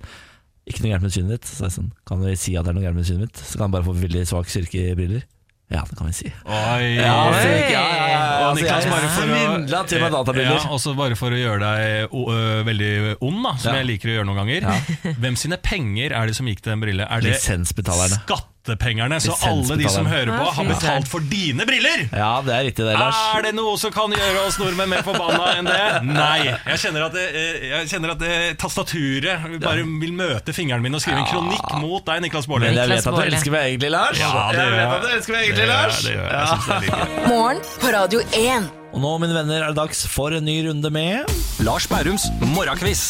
Speaker 1: ikke noe gærent med synet ditt. Så sa jeg sånn, kan vi si at det er noe gærent med synet mitt? Så kan han bare få veldig svak styrke i briller. Ja, det kan vi si.
Speaker 2: Oi.
Speaker 1: Ja,
Speaker 3: Oi.
Speaker 1: så, ja, ja, ja,
Speaker 2: Og
Speaker 1: altså,
Speaker 2: Niklas,
Speaker 1: jeg
Speaker 2: bare for å-
Speaker 1: svindla til meg
Speaker 2: Ja,
Speaker 1: databriller.
Speaker 2: også bare for å gjøre deg o- ø, veldig ond, da, som
Speaker 1: Ja.
Speaker 2: jeg liker å gjøre noen ganger. <laughs> Hvem sine penger er det som gikk til den brille? Er det
Speaker 1: Lisensbetalerne.
Speaker 2: skattepengerne? Så alle de som
Speaker 1: Lisensbetalerne.
Speaker 2: hører på,
Speaker 3: Ja,
Speaker 2: har
Speaker 3: fy
Speaker 2: betalt for dine briller!
Speaker 1: Ja, det er riktig det, Lars.
Speaker 2: Er det noe som kan gjøre oss nordmenn mer forbanna enn det? <laughs> Nei. Jeg kjenner at, det, eh, jeg kjenner at det, tastaturet bare vil møte fingeren min og skrive en kronikk mot deg, Niklas Baarli.
Speaker 1: Men jeg vet
Speaker 3: Niklas
Speaker 1: at du
Speaker 3: Baarli.
Speaker 1: elsker meg egentlig, Lars.
Speaker 2: Ja, det
Speaker 1: jeg
Speaker 2: gjør
Speaker 1: vet
Speaker 2: jeg.
Speaker 1: at du elsker meg
Speaker 2: Det
Speaker 1: egentlig,
Speaker 2: gjør jeg,
Speaker 1: Lars.
Speaker 2: det gjør jeg. Jeg synes det er litt gøy.
Speaker 4: Morgen på Radio 1.
Speaker 1: Og nå, mine venner, er det dags for en ny runde med
Speaker 6: Lars Bærums morgenkviss.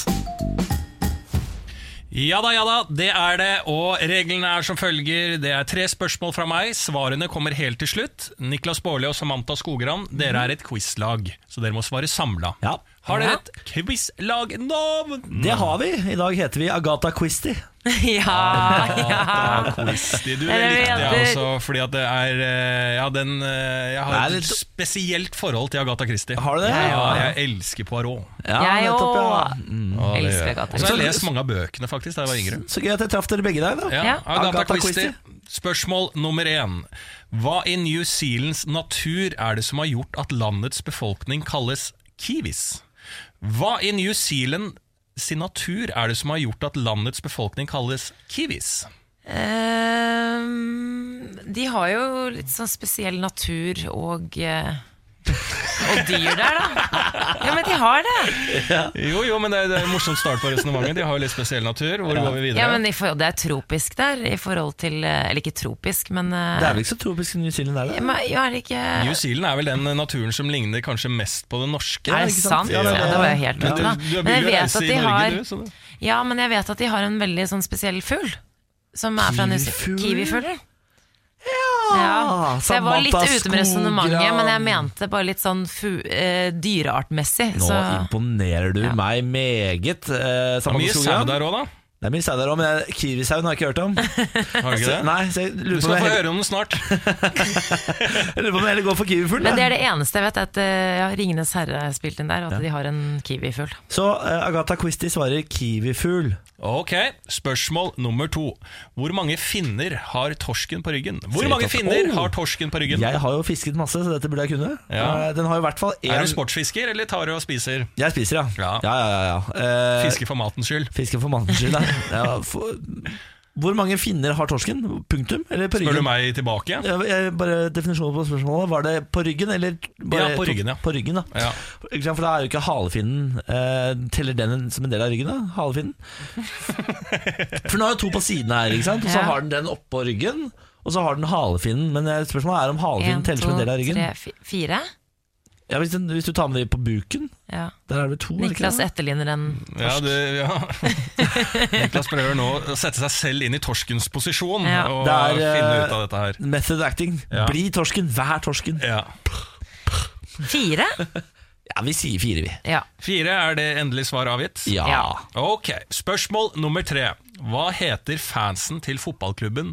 Speaker 2: Ja da, ja da, det er det. Og reglene er som følger. Det er tre spørsmål fra meg. Svarene kommer helt til slutt. Niklas Baarli og Samantha Skogran, dere er et quizlag, så dere må svare samla.
Speaker 1: Ja.
Speaker 2: Har dere
Speaker 3: Ja.
Speaker 2: et quizlagnavn?
Speaker 1: Det har vi. I dag heter vi Agatha Christie.
Speaker 3: ja, ja.
Speaker 2: Christie, du det
Speaker 3: Eller
Speaker 2: likte jeg
Speaker 3: jenter.
Speaker 2: også, fordi at det er eh, Ja, den eh, Jeg har
Speaker 1: Det er
Speaker 2: et
Speaker 1: litt-
Speaker 2: spesielt forhold til Agatha Christie.
Speaker 1: Har du det?
Speaker 2: Ja, jeg elsker Poirot.
Speaker 1: Ja,
Speaker 3: Jeg Mm.
Speaker 1: nettopp, ja.
Speaker 3: òg.
Speaker 2: Ja, det
Speaker 3: Elsker
Speaker 2: gjør jeg.
Speaker 3: Agatha
Speaker 2: Og så har jeg
Speaker 1: Christie.
Speaker 2: lest mange av bøkene, faktisk, da jeg var yngre.
Speaker 1: Så gøy at jeg traff dere begge i dag, da.
Speaker 2: Ja,
Speaker 3: Ja.
Speaker 2: Agatha,
Speaker 1: Agatha
Speaker 2: Christie. Spørsmål nummer én. Hva i New Zealands natur er det som har gjort at landets befolkning kalles kiwis? Hva i New Zealand sin natur er det som har gjort at landets befolkning kalles kiwis?
Speaker 3: Ehm, de har jo litt sånn spesiell natur og eh, og dyr der, da. Ja, men de har det.
Speaker 2: Jo, jo, men det er, det er en morsom start på resonnementet. De har jo litt spesiell natur. Hvor går vi videre?
Speaker 3: Ja, men i forhold, Det er tropisk der, i forhold til eh, Eller ikke tropisk, men eh,
Speaker 1: Det er vel ikke så tropisk i New Zealand, er det?
Speaker 3: men, ja, er det ikke
Speaker 2: New Zealand er vel den naturen som ligner kanskje mest på det
Speaker 3: Er
Speaker 2: norske. da,
Speaker 3: det
Speaker 2: ikke
Speaker 3: sant? Ja, det, var jo helt
Speaker 2: Men
Speaker 3: ute,
Speaker 2: du,
Speaker 3: da.
Speaker 2: du har
Speaker 3: Men jeg
Speaker 2: begynt
Speaker 3: vet
Speaker 2: å
Speaker 3: at
Speaker 2: reise i
Speaker 3: de
Speaker 2: Norge,
Speaker 3: har
Speaker 2: du. Så det.
Speaker 3: Ja, men jeg vet at de har en veldig sånn spesiell fugl. Som er fra New Zealand.
Speaker 1: Kiwifugl?
Speaker 3: Kiwifuglen. Ja, så jeg var litt
Speaker 1: Samantha
Speaker 3: ute med resonnementet,
Speaker 1: Skogran.
Speaker 3: men jeg mente bare litt sånn fu eh, dyreartmessig.
Speaker 1: Nå
Speaker 3: Så.
Speaker 1: imponerer du meg meget. Eh,
Speaker 2: Det er
Speaker 1: Samantha
Speaker 2: mye sau
Speaker 1: Skogran.
Speaker 2: der òg, da.
Speaker 1: Det er mye sau der òg, men jeg- kiwisauen har jeg ikke hørt om.
Speaker 2: Har
Speaker 3: <laughs>
Speaker 2: du <laughs> ikke
Speaker 1: Så,
Speaker 2: det?
Speaker 1: nei, så jeg lurer
Speaker 2: Du
Speaker 1: på om
Speaker 2: skal
Speaker 1: jeg
Speaker 2: få
Speaker 1: heller-
Speaker 2: høre om den snart.
Speaker 1: jeg lurer på om jeg heller går for kiwifugl.
Speaker 3: Men
Speaker 1: da.
Speaker 3: det er det eneste jeg vet, er at eh, ja, Ringenes herre er spilt inn der, og at de har en kiwifugl.
Speaker 1: Så eh, Agatha Christie svarer kiwifugl.
Speaker 2: Ok, spørsmål nummer to. Hvor mange finner har torsken på ryggen? Hvor
Speaker 1: Sier
Speaker 2: mange
Speaker 1: torsken.
Speaker 2: finner
Speaker 1: Oh!
Speaker 2: har torsken på ryggen?
Speaker 1: Jeg har jo fisket masse, så dette burde jeg kunne.
Speaker 2: Ja.
Speaker 1: Eh, Den har i hvert fall én
Speaker 2: Er du sportsfisker, eller tar du og spiser?
Speaker 1: Jeg spiser, ja.
Speaker 2: Ja.
Speaker 1: ja, ja, ja, ja. Eh,
Speaker 2: Fisker for matens skyld.
Speaker 1: Fisker for mannens skyld, da. Ja, for, Hvor mange finner har torsken? Punktum? Eller på
Speaker 2: Spør du
Speaker 1: ryggen?
Speaker 2: meg tilbake?
Speaker 1: Ja, jeg, bare definisjonen på spørsmålet. Var det på ryggen, eller bare
Speaker 2: Ja, på ryggen, ja.
Speaker 1: På ryggen, da.
Speaker 2: Ja.
Speaker 1: Ikke sant, For da er jo ikke halefinnen eh, Teller den som en del av ryggen, da?
Speaker 2: <laughs>
Speaker 1: Halefinnen? For nå har jo to på siden her, ikke sant? Og så
Speaker 3: Ja.
Speaker 1: har den den oppå ryggen. Og så har den halefinnen, men eh, spørsmålet er om halefinnen
Speaker 3: En,
Speaker 1: teller som en
Speaker 3: to,
Speaker 1: del av ryggen.
Speaker 3: tre, fi- fire.
Speaker 1: Ja, hvis, den, hvis du tar med det på buken,
Speaker 3: Ja.
Speaker 1: der er det to. er det ikke
Speaker 3: Niklas
Speaker 1: det?
Speaker 3: etterligner den.
Speaker 2: Ja, det, ja. <laughs> Niklas prøver nå å sette seg selv inn i torskens posisjon
Speaker 3: Ja.
Speaker 2: og
Speaker 1: Det er, eh,
Speaker 2: finne ut av dette her.
Speaker 1: Method acting.
Speaker 2: Ja.
Speaker 1: Bli torsken, vær torsken.
Speaker 2: Ja.
Speaker 3: Fire?
Speaker 1: Ja, vi sier fire, vi.
Speaker 3: Ja.
Speaker 2: Fire, er det endelig svar avgitt?
Speaker 1: Ja.
Speaker 3: Ja.
Speaker 2: Ok, spørsmål nummer tre. Hva heter fansen til fotballklubben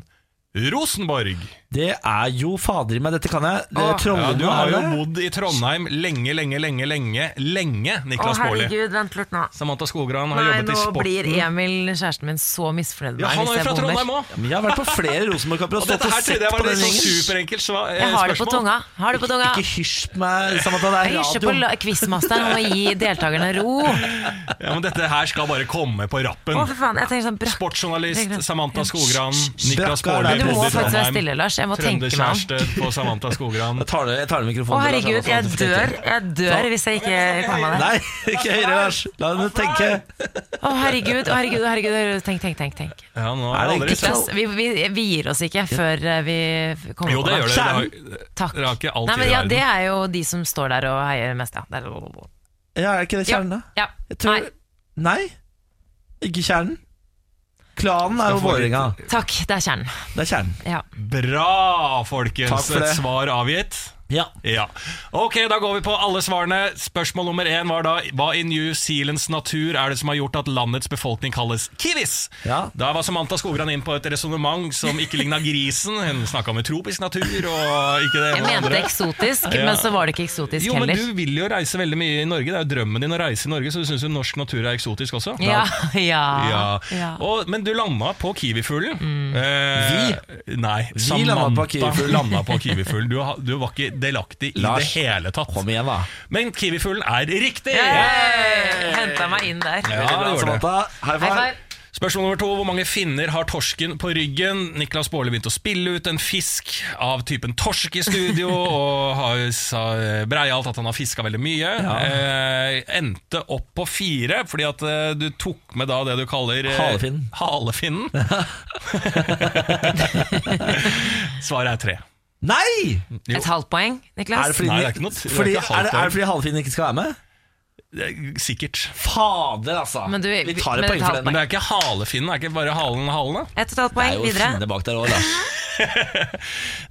Speaker 2: Rosenborg?
Speaker 1: Det er jo fader i meg, dette kan jeg. Det
Speaker 3: Åh.
Speaker 1: er Trollene
Speaker 2: Ja, du har
Speaker 1: er
Speaker 2: jo
Speaker 1: det.
Speaker 2: bodd i Trondheim lenge, lenge, lenge, lenge, lenge,
Speaker 3: Å,
Speaker 2: <laughs> Niklas Baarli.
Speaker 3: herregud, vent litt nå.
Speaker 2: Samantha Skogran har
Speaker 3: Nei,
Speaker 2: jobbet
Speaker 3: nå
Speaker 2: i sporten.
Speaker 3: blir Emil, kjæresten min, så misfornøyd med
Speaker 2: ja,
Speaker 3: meg
Speaker 2: han er
Speaker 3: hvis
Speaker 2: jo
Speaker 3: jeg
Speaker 2: fra Trondheim
Speaker 3: bommer.
Speaker 2: òg!
Speaker 1: Men Jeg har vært på flere Rosenborg-kamper og stått
Speaker 2: Dette
Speaker 1: og
Speaker 2: her
Speaker 1: sett
Speaker 2: trodde
Speaker 1: på
Speaker 2: jeg var
Speaker 1: den
Speaker 2: et sånn
Speaker 1: gjengen.
Speaker 2: superenkelt svar.
Speaker 3: Jeg har det på
Speaker 2: Eh, spørsmål.
Speaker 3: tunga. Har det på tunga.
Speaker 1: Ikke hysj på meg, Samantha. Det
Speaker 3: Jeg
Speaker 1: er
Speaker 3: hysjer på
Speaker 1: radio.
Speaker 3: la- quizmasteren om å gi deltakerne ro. <laughs> Å,
Speaker 2: Ja, men dette her skal bare komme på rappen.
Speaker 3: for faen. Jeg tenker sånn brakk.
Speaker 2: Sportsjournalist Samantha Skogran, Niklas
Speaker 1: Brakkar,
Speaker 2: Baarli,
Speaker 1: det er
Speaker 3: Du må
Speaker 2: bodd i
Speaker 3: faktisk være
Speaker 2: Trondheim.
Speaker 3: stille, Lars. Jeg må tenke meg om.
Speaker 2: Trønderkjæreste på Samantha Skogran.
Speaker 1: Jeg tar det- jeg tar
Speaker 3: Å,
Speaker 1: ned mikrofonen. til Lars,
Speaker 3: herregud,
Speaker 1: sånn at
Speaker 3: jeg
Speaker 1: du får
Speaker 3: dør.
Speaker 1: tenke.
Speaker 3: Jeg dør hvis jeg ikke kommer meg det.
Speaker 1: Nei, <laughs> ikke høyere, Lars. La henne tenke.
Speaker 3: Å, herregud, å, herregud, å, herregud. Tenk, tenk, tenk. tenk.
Speaker 2: Ja, nå
Speaker 1: Er det
Speaker 2: har jeg aldri
Speaker 1: ikke-
Speaker 3: Niklas, vi, vi, vi gir oss ikke før eh, vi kommer
Speaker 2: Jo,
Speaker 3: på
Speaker 2: det gjør det.
Speaker 1: Skjerm.
Speaker 2: Det har-
Speaker 3: Takk.
Speaker 2: Dere har ikke all
Speaker 3: Nei,
Speaker 2: tid
Speaker 3: men,
Speaker 2: i
Speaker 3: ja,
Speaker 2: verden.
Speaker 3: det er jo de som står der og heier mest, ja. Det er-
Speaker 1: Ja, er ikke det kjernen, da?
Speaker 3: Ja. Nei,
Speaker 1: Jeg tror Nei, ikke kjernen. Klanen er jo
Speaker 2: Skal få litt-
Speaker 1: Vålerenga.
Speaker 3: takk. Det er kjernen.
Speaker 1: Det er kjernen.
Speaker 3: Ja.
Speaker 2: Bra, folkens.
Speaker 1: Takk for
Speaker 2: Et
Speaker 1: det.
Speaker 2: svar avgitt.
Speaker 1: Ja.
Speaker 2: Ja. Ok, da går vi på alle svarene. Spørsmål nummer én var da hva i New Zealands natur er det som har gjort at landets befolkning kalles kiwis?
Speaker 1: Ja.
Speaker 2: Da var Samantha Skogran inn på et resonnement som ikke ligna grisen. Hun snakka om en tropisk natur og ikke det
Speaker 3: Jeg
Speaker 2: ene og det
Speaker 3: mente
Speaker 2: andre.
Speaker 3: eksotisk,
Speaker 2: Ja.
Speaker 3: men så var det ikke eksotisk
Speaker 2: Jo, men
Speaker 3: heller.
Speaker 2: du vil jo reise veldig mye i Norge. Det er jo drømmen din å reise i Norge, så du syns jo norsk natur er eksotisk også.
Speaker 3: Ja, <laughs> ja,
Speaker 2: Ja.
Speaker 3: ja. Mm.
Speaker 2: Og, men du landa på kiwifuglen. Vi? Nei,
Speaker 1: Vi landa på kiwifuglen.
Speaker 2: landa på kiwifuglen. Du, ha- du var ikke delaktig i
Speaker 1: Lars,
Speaker 2: det hele tatt.
Speaker 1: Kom igjen, da.
Speaker 2: Men kiwifuglen er riktig!
Speaker 3: Hey! Henta meg inn der.
Speaker 2: Ja, det gjorde det.
Speaker 1: Samantha, high
Speaker 3: High
Speaker 1: five.
Speaker 3: five.
Speaker 2: Spørsmål nummer to. Hvor mange finner har torsken på ryggen? Niklas Baarli begynte å spille ut en fisk av typen torsk i studio, og har sa breialt at han har fiska veldig mye. Eh, endte opp på fire, fordi at eh, du tok med da det du kaller eh,
Speaker 1: Halefinnen.
Speaker 2: halefinnen. Svaret er tre.
Speaker 1: Nei!
Speaker 2: Jo.
Speaker 3: Et halvt poeng,
Speaker 1: Er det
Speaker 3: Niklas.
Speaker 1: fordi,
Speaker 2: Nei, det er ikke noe- det er
Speaker 1: fordi,
Speaker 2: ikke halvt
Speaker 1: er det, er
Speaker 2: poeng.
Speaker 1: det fordi halvfinnen ikke skal være med?
Speaker 2: Eh, Sikkert.
Speaker 1: Fader, altså.
Speaker 3: Men du,
Speaker 1: vi tar
Speaker 3: men
Speaker 1: et poeng
Speaker 3: et
Speaker 1: for
Speaker 3: halvt
Speaker 1: den.
Speaker 2: Men det er ikke halefinnen, det er ikke bare halen og halene.
Speaker 3: Et og et halvt
Speaker 1: Det er
Speaker 3: poeng
Speaker 1: jo
Speaker 3: videre.
Speaker 1: finne bak der òg, Lars.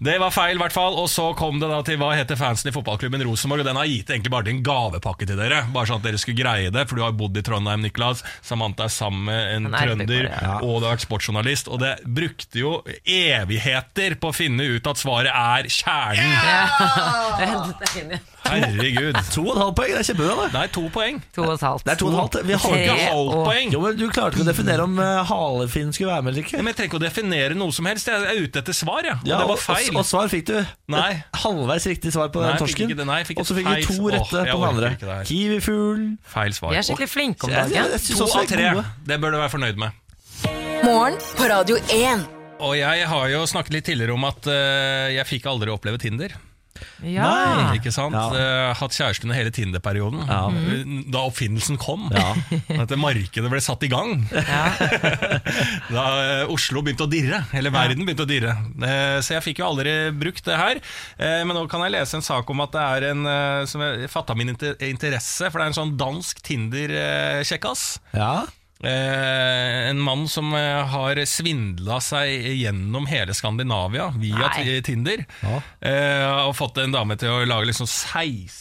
Speaker 2: Det var feil, i hvert fall. Og så kom det da til hva heter fansen i fotballklubben Rosenborg. Og den har jeg gitt egentlig bare til en gavepakke til dere. Bare sånn at dere skulle greie det, for du har bodd i Trondheim, Niklas. Samantha er sammen med en
Speaker 3: Han er
Speaker 2: trønder,
Speaker 3: RBK, ja.
Speaker 2: og du har vært sportsjournalist. Og det brukte jo evigheter på å finne ut at svaret er kjernen.
Speaker 3: <laughs> Jeg hentet deg inn igjen.
Speaker 2: Herregud.
Speaker 1: To og et halvt poeng, det er kjempebra, det.
Speaker 2: Nei, to poeng.
Speaker 3: To og et halvt.
Speaker 1: Det er to og et halvt. Vi har
Speaker 2: Får
Speaker 1: ikke
Speaker 2: ikke
Speaker 3: Tre
Speaker 2: halvt
Speaker 3: og-
Speaker 2: poeng.
Speaker 1: Jo, men Du klarte ikke å definere om eh, halefinnen skulle være med eller
Speaker 2: Ja,
Speaker 1: ikke.
Speaker 2: Men jeg trenger ikke å definere noe som helst. Jeg er ute etter svar, ja. Og
Speaker 1: Ja,
Speaker 2: det
Speaker 1: og,
Speaker 2: var feil.
Speaker 1: og, og svar fikk du.
Speaker 2: Nei.
Speaker 1: Et Halvveis riktig svar på
Speaker 2: Nei,
Speaker 1: den
Speaker 2: jeg fikk
Speaker 1: torsken.
Speaker 2: ikke det. Nei, jeg
Speaker 1: Og
Speaker 2: fikk
Speaker 1: så
Speaker 2: et
Speaker 1: fikk du
Speaker 2: feil-
Speaker 1: to
Speaker 2: Åh,
Speaker 1: rette
Speaker 2: jeg
Speaker 1: på den
Speaker 2: orker
Speaker 1: andre.
Speaker 2: ikke det her.
Speaker 1: Kiwifugl
Speaker 2: Feil svar.
Speaker 3: Vi er skikkelig flinke om
Speaker 1: Jeg, jeg,
Speaker 3: dagen.
Speaker 1: jeg synes
Speaker 2: To
Speaker 1: også
Speaker 2: av
Speaker 1: vi
Speaker 2: tre.
Speaker 1: er gode.
Speaker 2: Det bør du være fornøyd med.
Speaker 4: Morgen på Radio 1.
Speaker 2: Og jeg har jo snakket litt tidligere om at eh, jeg fikk aldri oppleve Tinder.
Speaker 3: Ah. Ja.
Speaker 1: Nei.
Speaker 2: Ikke sant?
Speaker 1: Ja.
Speaker 2: Eh, hatt kjæreste under hele Tinder-perioden. Eh, Da oppfinnelsen kom. <laughs> At det markedet ble satt i gang. <laughs> da eh, Oslo begynte å dirre. Eller verden begynte å dirre. Eh, så jeg fikk jo aldri brukt det her. Eh, men nå kan jeg lese en sak om at det er en eh, som fatta min inter interesse, for det er en sånn dansk Tinder-kjekkas.
Speaker 1: Ja.
Speaker 2: Eh, en mann som eh, har svindla seg gjennom hele Skandinavia via
Speaker 3: Nei.
Speaker 2: ti- Tinder.
Speaker 1: Ja.
Speaker 2: Eh, og fått en dame til å lage liksom 16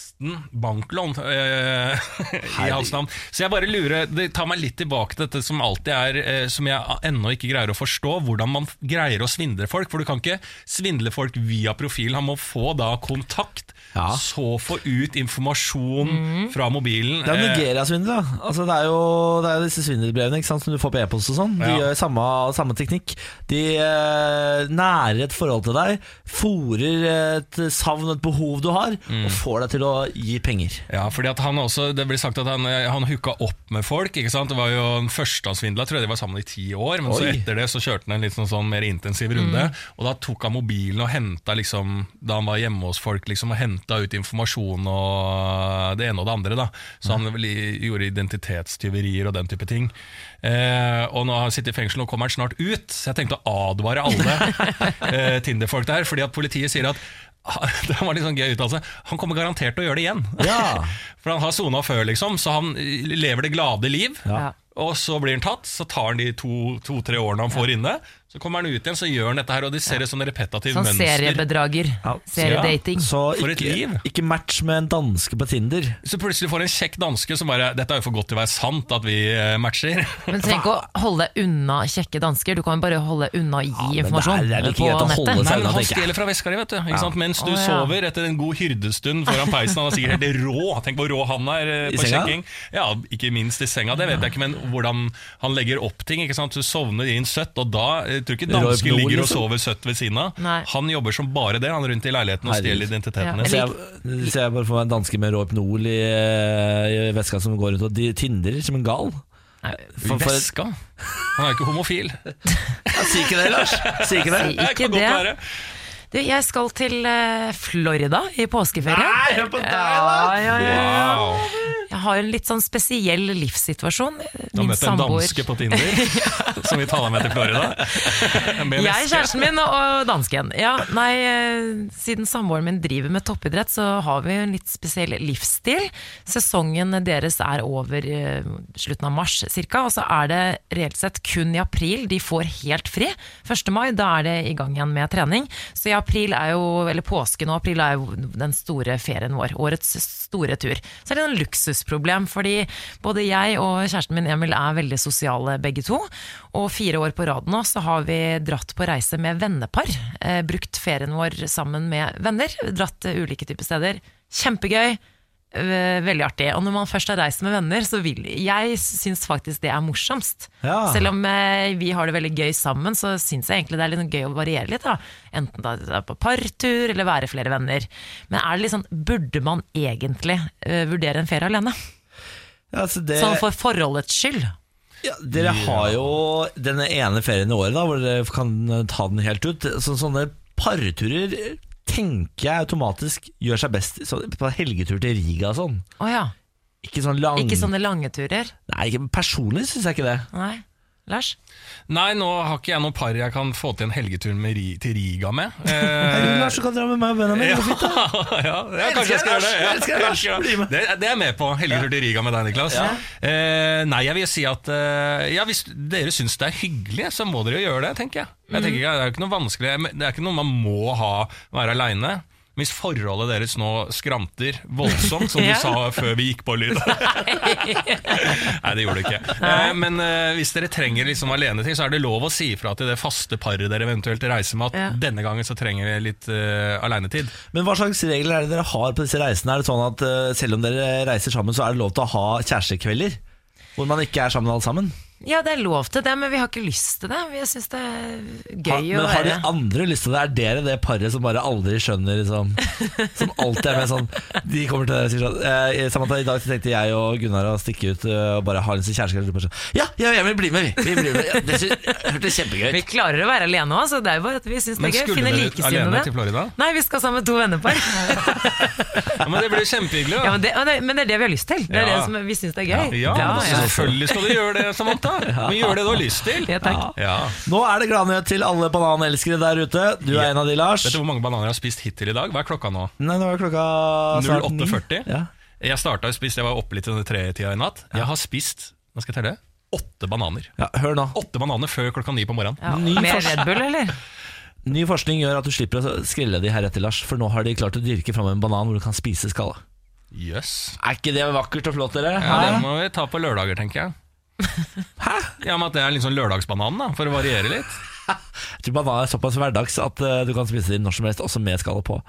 Speaker 2: banklån eh, <laughs> i hans navn. Så jeg bare lurer Det tar meg litt tilbake til dette som alltid er eh, Som jeg ennå ikke greier å forstå, hvordan man greier å svindle folk. For du kan ikke svindle folk via profil. Han må få da kontakt,
Speaker 1: Ja.
Speaker 2: så få ut informasjon fra mobilen.
Speaker 1: Det er
Speaker 2: Eh,
Speaker 1: Nigeria-svindel, da. Altså, det er jo det er disse svindlerne nyhetsbrevene ikke sant, som du får på e-post og sånn. De
Speaker 2: Ja.
Speaker 1: gjør samme, samme teknikk. De eh, nærer et forhold til deg, fòrer et savn, et behov du har,
Speaker 2: Mm.
Speaker 1: og får deg til å gi penger.
Speaker 2: Ja, fordi at han også, Det blir sagt at han, han hooka opp med folk. ikke sant? Det var jo Den første han svindla, tror jeg de var sammen i ti år. Men så
Speaker 1: Oi. Mm.
Speaker 2: etter det så kjørte han en litt sånn, sånn mer intensiv runde. Og da tok han mobilen og henta liksom, da han var hjemme hos folk, liksom, og henta ut informasjon og det ene og det andre. da. Så han vel i- gjorde identitetstyverier og den type ting. Eh, og nå har han sittet i fengsel, nå kommer han snart ut. Så jeg tenkte å advare
Speaker 1: <laughs>
Speaker 2: alle eh, Tinder-folk der, fordi at politiet sier at <laughs> det var litt sånn gøy uttalelse. Han kommer garantert til å gjøre det igjen.
Speaker 1: Ja.
Speaker 2: For han har sona før, liksom, så han eh, lever det glade liv.
Speaker 3: Ja.
Speaker 2: Og så blir han tatt, så tar han de to-tre årene han får inne. Så kommer han ut igjen, så gjør han dette her, og de ser et sånn repetativt
Speaker 3: Sånn
Speaker 2: mønster.
Speaker 3: seriebedrager.
Speaker 1: Ja.
Speaker 3: Seriedating.
Speaker 1: <laughs> Så
Speaker 2: For et liv.
Speaker 1: ikke, ikke match med en danske på Tinder.
Speaker 2: Så plutselig får en kjekk danske som bare Dette er jo for godt til å være sant at vi eh, matcher. <laughs>
Speaker 3: Men tenk å holde deg unna kjekke dansker. Du kan bare holde deg unna å gi
Speaker 1: Ja, men det er-
Speaker 3: informasjon
Speaker 1: det er like
Speaker 3: på
Speaker 1: greit å holde
Speaker 3: nettet.
Speaker 1: seg-
Speaker 2: Nei,
Speaker 1: Nei,
Speaker 2: men Han
Speaker 1: det tenker jeg.
Speaker 2: stjeler fra veska di, vet du. Ikke sant? Mens du
Speaker 3: Å, ja.
Speaker 2: sover etter en god hyrdestund foran peisen. Han er sikkert helt rå. Tenk hvor rå han er eh,
Speaker 1: I
Speaker 2: på
Speaker 1: senga?
Speaker 2: sjekking. Ja, Ikke minst i senga, det vet jeg ikke, men hvordan han legger opp ting. ikke sant? Du sovner inn søtt, og da jeg tror ikke
Speaker 1: Roy
Speaker 2: dansken
Speaker 1: Blow,
Speaker 2: ligger og
Speaker 1: liksom.
Speaker 2: sover søtt ved siden av.
Speaker 3: Nei.
Speaker 2: Han jobber som bare det, han rundt i leiligheten og
Speaker 1: Herregud.
Speaker 2: stjeler
Speaker 3: Ja.
Speaker 2: identiteten
Speaker 1: Så
Speaker 2: din.
Speaker 1: jeg, så jeg bare får meg en danske med rå Ipnol i, eh, i veska som går rundt og de tindrer som en gal.
Speaker 2: I Veska? Han er jo ikke homofil.
Speaker 1: Si ikke det, Lars. Si ikke det.
Speaker 3: Si ikke
Speaker 2: kan godt
Speaker 3: det.
Speaker 2: være.
Speaker 3: Du, jeg skal til eh, Florida i påskeferie. Nei, hør på deg, da! Ja, ja, ja.
Speaker 2: Wow.
Speaker 3: Jeg har en litt sånn spesiell livssituasjon. eh,
Speaker 2: Da
Speaker 3: Min
Speaker 2: møtte jeg en
Speaker 3: samboer-
Speaker 2: danske på
Speaker 3: <laughs>
Speaker 2: Tinder som vi taler med til Florida. Med
Speaker 3: Jeg,
Speaker 2: veske.
Speaker 3: kjæresten min og dansken. Ja, nei, eh, siden samboeren min driver med toppidrett, så har vi jo en litt spesiell livsstil. Sesongen deres er over eh, slutten av mars cirka, og så er det reelt sett kun i april de får helt fri. 1. mai, da er det i gang igjen med trening. Så i april er jo, eller påsken og april er jo den store ferien vår, årets store tur. Så er det en luksusproblem, fordi både jeg og kjæresten min Emil er veldig sosiale begge to. Og fire år på rad nå så har vi dratt på reise med vennepar. Eh, brukt ferien vår sammen med venner. Dratt til ulike typer steder. Kjempegøy. eh, Veldig artig. Og når man først har reist med venner, så vil jeg syns faktisk det er morsomst.
Speaker 1: Ja.
Speaker 3: Selv om eh, vi har det veldig gøy sammen, så syns jeg egentlig det er litt gøy å variere litt. da Enten da det er på partur eller være flere venner. Men er det litt sånn, burde man egentlig eh, vurdere en ferie alene?
Speaker 1: Ja, altså det,
Speaker 2: Eh.
Speaker 3: Sånn for forholdets skyld.
Speaker 1: ja, dere har jo den ene ferien i året da, hvor dere kan eh, ta den helt ut. Så, sånne parturer eh, tenker jeg automatisk gjør seg best så, på helgetur til Riga og sånn.
Speaker 3: Å ja.
Speaker 1: Ikke sånn lang
Speaker 3: Ikke sånne lange turer.
Speaker 1: Nei, ikke, personlig syns jeg ikke det.
Speaker 3: Nei. Lars?
Speaker 2: Nei, nå har ikke jeg noe par jeg kan få til en helgetur med, ri- til Riga med.
Speaker 1: Herregud,
Speaker 2: Eh,
Speaker 1: Lars, du kan dra med meg og Benjamin.
Speaker 2: ja,
Speaker 1: det går fint, da.
Speaker 2: <laughs> ja, ja, kanskje jeg skal gjøre det. Ja,
Speaker 1: Jeg elsker deg, Lars.
Speaker 2: jeg elsker
Speaker 1: Bli
Speaker 2: deg.
Speaker 1: med.
Speaker 2: Det, det er jeg med på. Helgetur til Riga med deg, Niklas. Eh, nei, jeg vil si at eh, ja, hvis dere syns det er hyggelig, så må dere jo gjøre det, tenker jeg.
Speaker 3: Mm.
Speaker 2: jeg tenker, ikke- det er jo ikke noe vanskelig Det er ikke noe man må ha være aleine. Hvis forholdet deres nå skranter voldsomt, som du
Speaker 3: <laughs> Ja.
Speaker 2: sa før vi gikk på
Speaker 3: <laughs>
Speaker 2: lyd. <laughs> Nei, det gjorde det ikke. Eh, Men eh, hvis dere trenger liksom aleneting, så er det lov å si ifra til det faste paret dere eventuelt reiser med, at
Speaker 3: Ja.
Speaker 2: denne gangen så trenger vi litt eh, alenetid.
Speaker 1: Men hva slags regler er det dere har på disse reisene? Er det sånn at eh, selv om dere reiser sammen, så er det lov til å ha kjærestekvelder? Hvor man ikke er sammen alle sammen?
Speaker 3: Ja, det er lov til det, men vi har ikke lyst til det. Jeg syns det er
Speaker 1: Ha,
Speaker 3: gøy
Speaker 1: men
Speaker 3: å
Speaker 1: har de
Speaker 3: være
Speaker 1: andre lyst til det? Er dere det paret som bare aldri skjønner liksom, Som alltid er med sånn De kommer til dere og sier sånn eh, Samantha, i dag så tenkte jeg og Gunnar å stikke ut eh, og bare ha en sånn kjæreste og du bare sånn, Ja, ja, jeg vil bli med, vi. vi blir med. Ja, det sy- hørtes kjempegøy
Speaker 3: Vi
Speaker 1: ut.
Speaker 3: klarer å være alene òg, så det er jo bare at vi syns det
Speaker 2: Men
Speaker 3: er gøy.
Speaker 2: skulle
Speaker 3: Finne
Speaker 2: dere ut alene til
Speaker 3: likesinnede.
Speaker 2: Florida?
Speaker 3: Nei, vi skal sammen med to vennepar.
Speaker 2: Ja, men det blir jo kjempehyggelig.
Speaker 3: Ja,
Speaker 2: da.
Speaker 3: men, det, men det- men det er det vi har lyst til. Det er
Speaker 2: Ja.
Speaker 3: det som vi syns det er gøy.
Speaker 2: <laughs> Ja,
Speaker 3: Ja, ja.
Speaker 2: selvfølgelig skal dere gjøre det, Samantha. Men gjør det du har lyst til.
Speaker 3: Ja, takk.
Speaker 2: Ja.
Speaker 1: Nå er det gladnyhet til alle bananelskere der ute. Du er en av de, Lars.
Speaker 2: Vet du hvor mange bananer jeg har spist hittil i dag? Hva er klokka nå?
Speaker 1: Nei, nå er klokka snart ni.
Speaker 2: 08.40.
Speaker 1: Ja.
Speaker 2: Jeg startet å spise, jeg var oppe litt under tre-tida i natt. Jeg har spist nå skal jeg telle, åtte bananer.
Speaker 1: ja, hør nå.
Speaker 2: Åtte bananer før klokka ni på morgenen.
Speaker 3: Ja. Mer Red Bull, eller?
Speaker 1: Ny forskning gjør at du slipper å skrelle de her etter, Lars. For nå har de klart å dyrke fram en banan hvor du kan spise skallet.
Speaker 2: Jøss.
Speaker 1: Er ikke det vakkert og flott, dere?
Speaker 2: Ja, det må vi ta på lørdager, sånn tenker jeg. Hæ? Ja, men At det er liksom lørdagsbananen, da, for å variere litt.
Speaker 1: Jeg banan er såpass hverdags at eh, du kan spise dem når som helst, også med skallet på.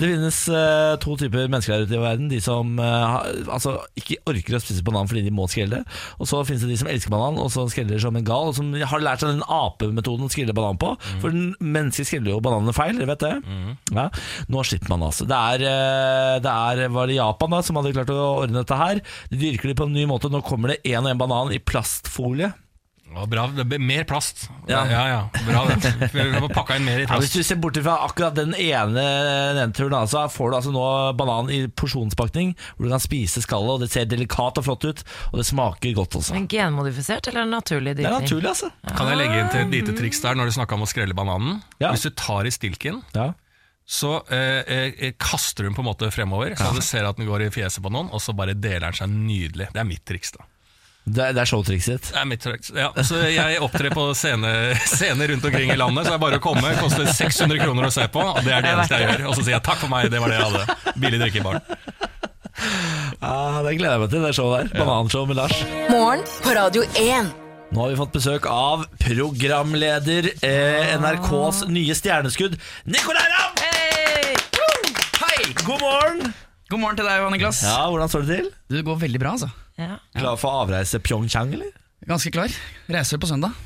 Speaker 1: Det finnes eh, to typer mennesker her ute i verden. De som eh, har- altså, ikke orker å spise banan fordi de må skrelle. Og så finnes det de som elsker banan, og så skreller som en gal. Og som har lært seg den apemetoden å skrelle banan på. For den mennesket skreller jo bananene feil, dere vet det. Ja. Nå slipper man altså. Det er, eh, det er var det Japan da som hadde klart å ordne dette her. De dyrker det på en ny måte. Nå kommer det én og én banan i plastfolie.
Speaker 2: Ja, bra, det blir mer plast.
Speaker 1: Ja.
Speaker 2: Ja, ja, bra det. Vi må pakke inn mer i
Speaker 1: Ja, hvis
Speaker 2: plast.
Speaker 1: du ser bort fra akkurat den ene, den ene turen, da, så får du altså nå banan i porsjonspakning, hvor du kan spise skallet, og det ser delikat og flott ut, og det smaker godt også.
Speaker 3: Men genmodifisert eller naturlig
Speaker 1: Det er
Speaker 3: dyrking?
Speaker 1: naturlig, altså.
Speaker 2: Kan jeg legge inn til et lite triks der når du snakka om å skrelle bananen?
Speaker 1: Ja.
Speaker 2: Hvis du tar i stilken,
Speaker 1: Ja.
Speaker 2: så eh, eh, kaster du den på en måte fremover, så du ser at den går i fjeset på noen, og så bare deler den seg nydelig. Det er mitt triks, da.
Speaker 1: Det, er- det er showtrikset ditt.
Speaker 2: Det er mitt triks. Ja, så jeg opptrer på scene- <laughs> scener rundt omkring i landet, så det er bare å komme. Det koster 600 kroner å se på, og det er det eneste jeg gjør. Og så sier jeg takk for meg, det var det jeg hadde. Billig drikke i baren.
Speaker 1: Ja, det gleder jeg meg til, det showet der. Bananshow med Lars.
Speaker 4: Morgen på Radio 1.
Speaker 1: Nå har vi fått besøk av programleder eh, NRKs nye stjerneskudd, Nicolay Ramm!
Speaker 3: Hey!
Speaker 1: Hei! God morgen!
Speaker 7: God morgen til deg, Johan Niklas.
Speaker 1: Ja, hvordan står det til?
Speaker 7: Du det går veldig bra, altså.
Speaker 3: Ja.
Speaker 1: Klar for avreise Pyeongchang, eller?
Speaker 7: Ganske klar. Reiser på søndag.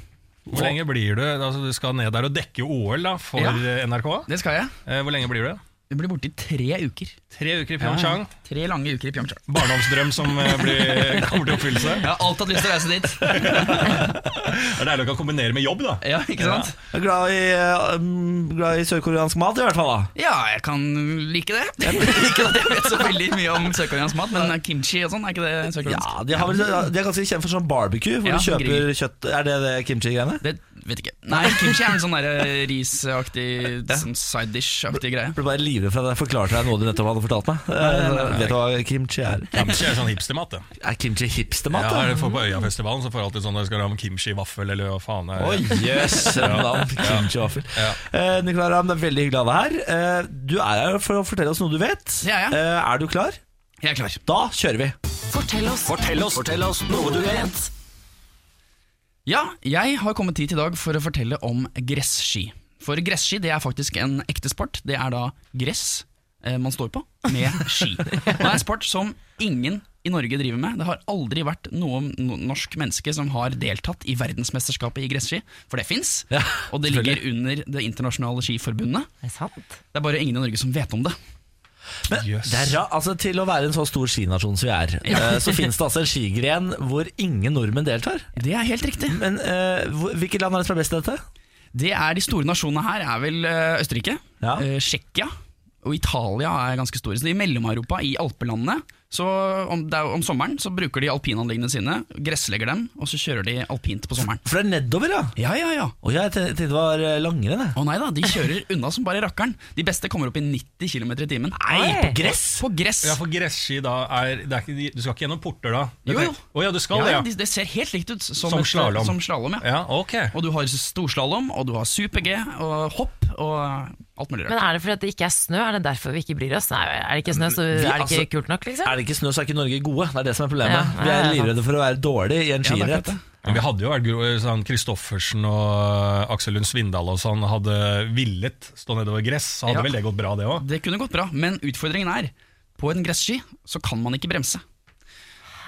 Speaker 2: Hvor lenge blir du? Altså, du skal ned der og dekke OL da, for
Speaker 7: Ja.
Speaker 2: eh, NRK.
Speaker 7: Det skal jeg.
Speaker 2: Eh, Hvor lenge blir du?
Speaker 7: Du blir borte i tre uker.
Speaker 2: Tre uker i Pyeongchang.
Speaker 7: Tre lange uker i Pyeongchang.
Speaker 2: Barndomsdrøm som eh, blir, <laughs> kommer til oppfyllelse.
Speaker 7: Jeg har alltid hatt lyst til å reise dit.
Speaker 2: Det er deilig å kan kombinere med jobb, da.
Speaker 7: Ja, ikke sant?
Speaker 1: Jeg er Glad i, eh, mm, glad i sørkoreansk mat, i hvert fall. da
Speaker 7: Ja, jeg kan like det. ikke at jeg vet så veldig mye om sørkoreansk mat, men kimchi og sånn, er ikke det sørkoreansk?
Speaker 1: Ja, de, har vel, de er ganske kjent for sånn barbecue, hvor
Speaker 7: Ja,
Speaker 1: du kjøper
Speaker 7: grill.
Speaker 1: kjøtt Er det det kimchi-greiene?
Speaker 7: Det vet jeg ikke. Nei, kimchi er en sånn der risaktig, sånn side dish-aktig greie.
Speaker 1: Jeg ble bare livredd for at jeg forklarte deg noe du nettopp hadde fortalt meg. Eh, Vet du hva kimchi er?
Speaker 2: Kimchi er sånn hipstermat. det.
Speaker 1: Er kimchi hipstermat?
Speaker 2: Ja,
Speaker 1: da?
Speaker 2: er det for På Øyafestivalen så får jeg alltid sånn der skal du ha med kimchi-vaffel eller hva faen. er-
Speaker 1: Oi, jøss! <laughs> Kimchi-vaffel.
Speaker 2: Ja.
Speaker 1: Eh, Nicolai Ramm, det er veldig hyggelig å ha deg her. Eh, du er her for å fortelle oss noe du vet.
Speaker 7: Ja, ja.
Speaker 1: Eh, er du klar?
Speaker 7: Jeg er klar.
Speaker 1: Da kjører vi.
Speaker 3: Fortell oss.
Speaker 6: Fortell oss, fortell oss noe du vet.
Speaker 7: Ja, jeg har kommet hit i dag for å fortelle om gresski. For gresski det er faktisk en ekte sport. Det er da gress eh, man står på med ski. Og det er en sport som ingen i Norge driver med. Det har aldri vært noe no- norsk menneske som har deltatt i verdensmesterskapet i gresski, for det fins.
Speaker 1: Ja,
Speaker 7: og det ligger under Det internasjonale skiforbundet.
Speaker 3: Er det sant?
Speaker 7: Det er bare ingen i Norge som vet om det.
Speaker 1: Men
Speaker 2: Jøss.
Speaker 1: det er ra altså, Til å være en så stor skinasjon som vi er, eh, så finnes det altså en skigren hvor ingen nordmenn deltar.
Speaker 7: Det er helt riktig.
Speaker 1: Men eh, hvor- hvilket land er det som er best i dette?
Speaker 7: Det er De store nasjonene her er vel eh, Østerrike,
Speaker 1: Ja.
Speaker 7: eh, Tsjekkia og Italia er ganske store. Så I Mellom-Europa, i alpelandene, så om, det er, om sommeren så bruker de alpinanleggene sine, gresslegger dem, og så kjører de alpint på sommeren.
Speaker 1: For det er nedover, ja.
Speaker 7: Ja, ja, ja.
Speaker 1: Å ja, jeg ten- tenkte det var eh, langrenn. jeg.
Speaker 7: Å nei da, de kjører <laughs> unna som bare rakkeren. De beste kommer opp i 90 km i timen.
Speaker 3: Nei, på
Speaker 1: gress?
Speaker 7: På gress.
Speaker 2: Ja, for gresski da er, det er ikke, Du skal ikke gjennom porter da? Det-
Speaker 7: Jo, jo.
Speaker 2: Å ja, du skal
Speaker 7: Ja, ja,
Speaker 2: det,
Speaker 7: de, det ser helt likt ut som,
Speaker 2: Som
Speaker 7: et-
Speaker 2: slalom.
Speaker 7: Som slalom ja.
Speaker 2: ja. ja ok.
Speaker 7: Og du har storslalåm, og du har super-G, og hopp, og alt mulig
Speaker 3: Men
Speaker 7: rart.
Speaker 3: er det fordi at det ikke er snø? Er det derfor vi ikke bryr oss? Nei, er det ikke snø, så er det
Speaker 1: altså-
Speaker 3: ikke kult nok, liksom?
Speaker 1: Er det ikke snø, så er ikke Norge gode. Det er det som er problemet.
Speaker 3: Ja,
Speaker 1: vi
Speaker 3: ja,
Speaker 1: er
Speaker 3: ja,
Speaker 1: livredde for å være dårlig i en
Speaker 7: Ja, det er
Speaker 1: skirett.
Speaker 7: akkurat det.
Speaker 2: Men vi hadde jo vært gro- sånn Kristoffersen og eh, Aksel Lund Svindal og sånn hadde villet stå nedover gress, så hadde
Speaker 7: Ja.
Speaker 2: vel det gått bra, det òg?
Speaker 7: Det kunne gått bra, men utfordringen er På en gresski så kan man ikke bremse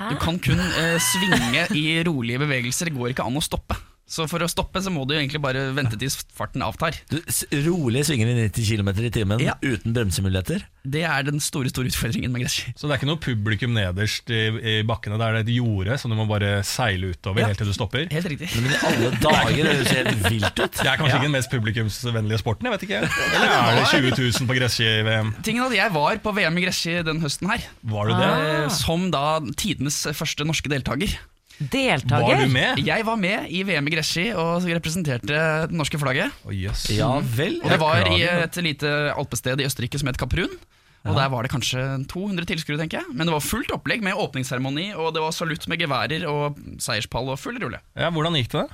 Speaker 7: Du kan kun eh, svinge i rolige bevegelser Det går ikke an å stoppe Så for å stoppe så må du egentlig bare vente til farten avtar
Speaker 1: Du, s- rolig svinger i 90 km i timen
Speaker 7: Ja.
Speaker 1: uten bremsemuligheter.
Speaker 7: Det er den store, store utfordringen med gresski
Speaker 2: Så det er ikke noe publikum nederst i, i bakkene. Det er et jorde som du må bare seile utover helt til du stopper.
Speaker 7: Helt riktig
Speaker 1: Men i alle dager det høres helt vilt ut.
Speaker 2: Det er kanskje ikke den mest publikumsvennlige sporten, jeg
Speaker 7: <laughs>
Speaker 2: vet ikke. Eller er det 20 000 på gresski-VM?
Speaker 7: Tingen er at jeg var på VM i gresski den høsten her
Speaker 2: Var du det?
Speaker 7: eh, Som da tidenes første norske deltaker
Speaker 3: Deltaker?
Speaker 2: Var du med?
Speaker 7: Jeg var med i VM i gresski Og representerte det norske flagget
Speaker 2: Å, jøss.
Speaker 1: Ja vel.
Speaker 7: Og det var i
Speaker 2: Beklager.
Speaker 7: et lite alpested i Østerrike som het Kaprun. Og Der var det kanskje 200 tilskuere, tenker jeg. Men det var fullt opplegg med åpningsseremoni, og det var salutt med geværer og seierspall og full rulle.
Speaker 2: Ja, hvordan gikk det?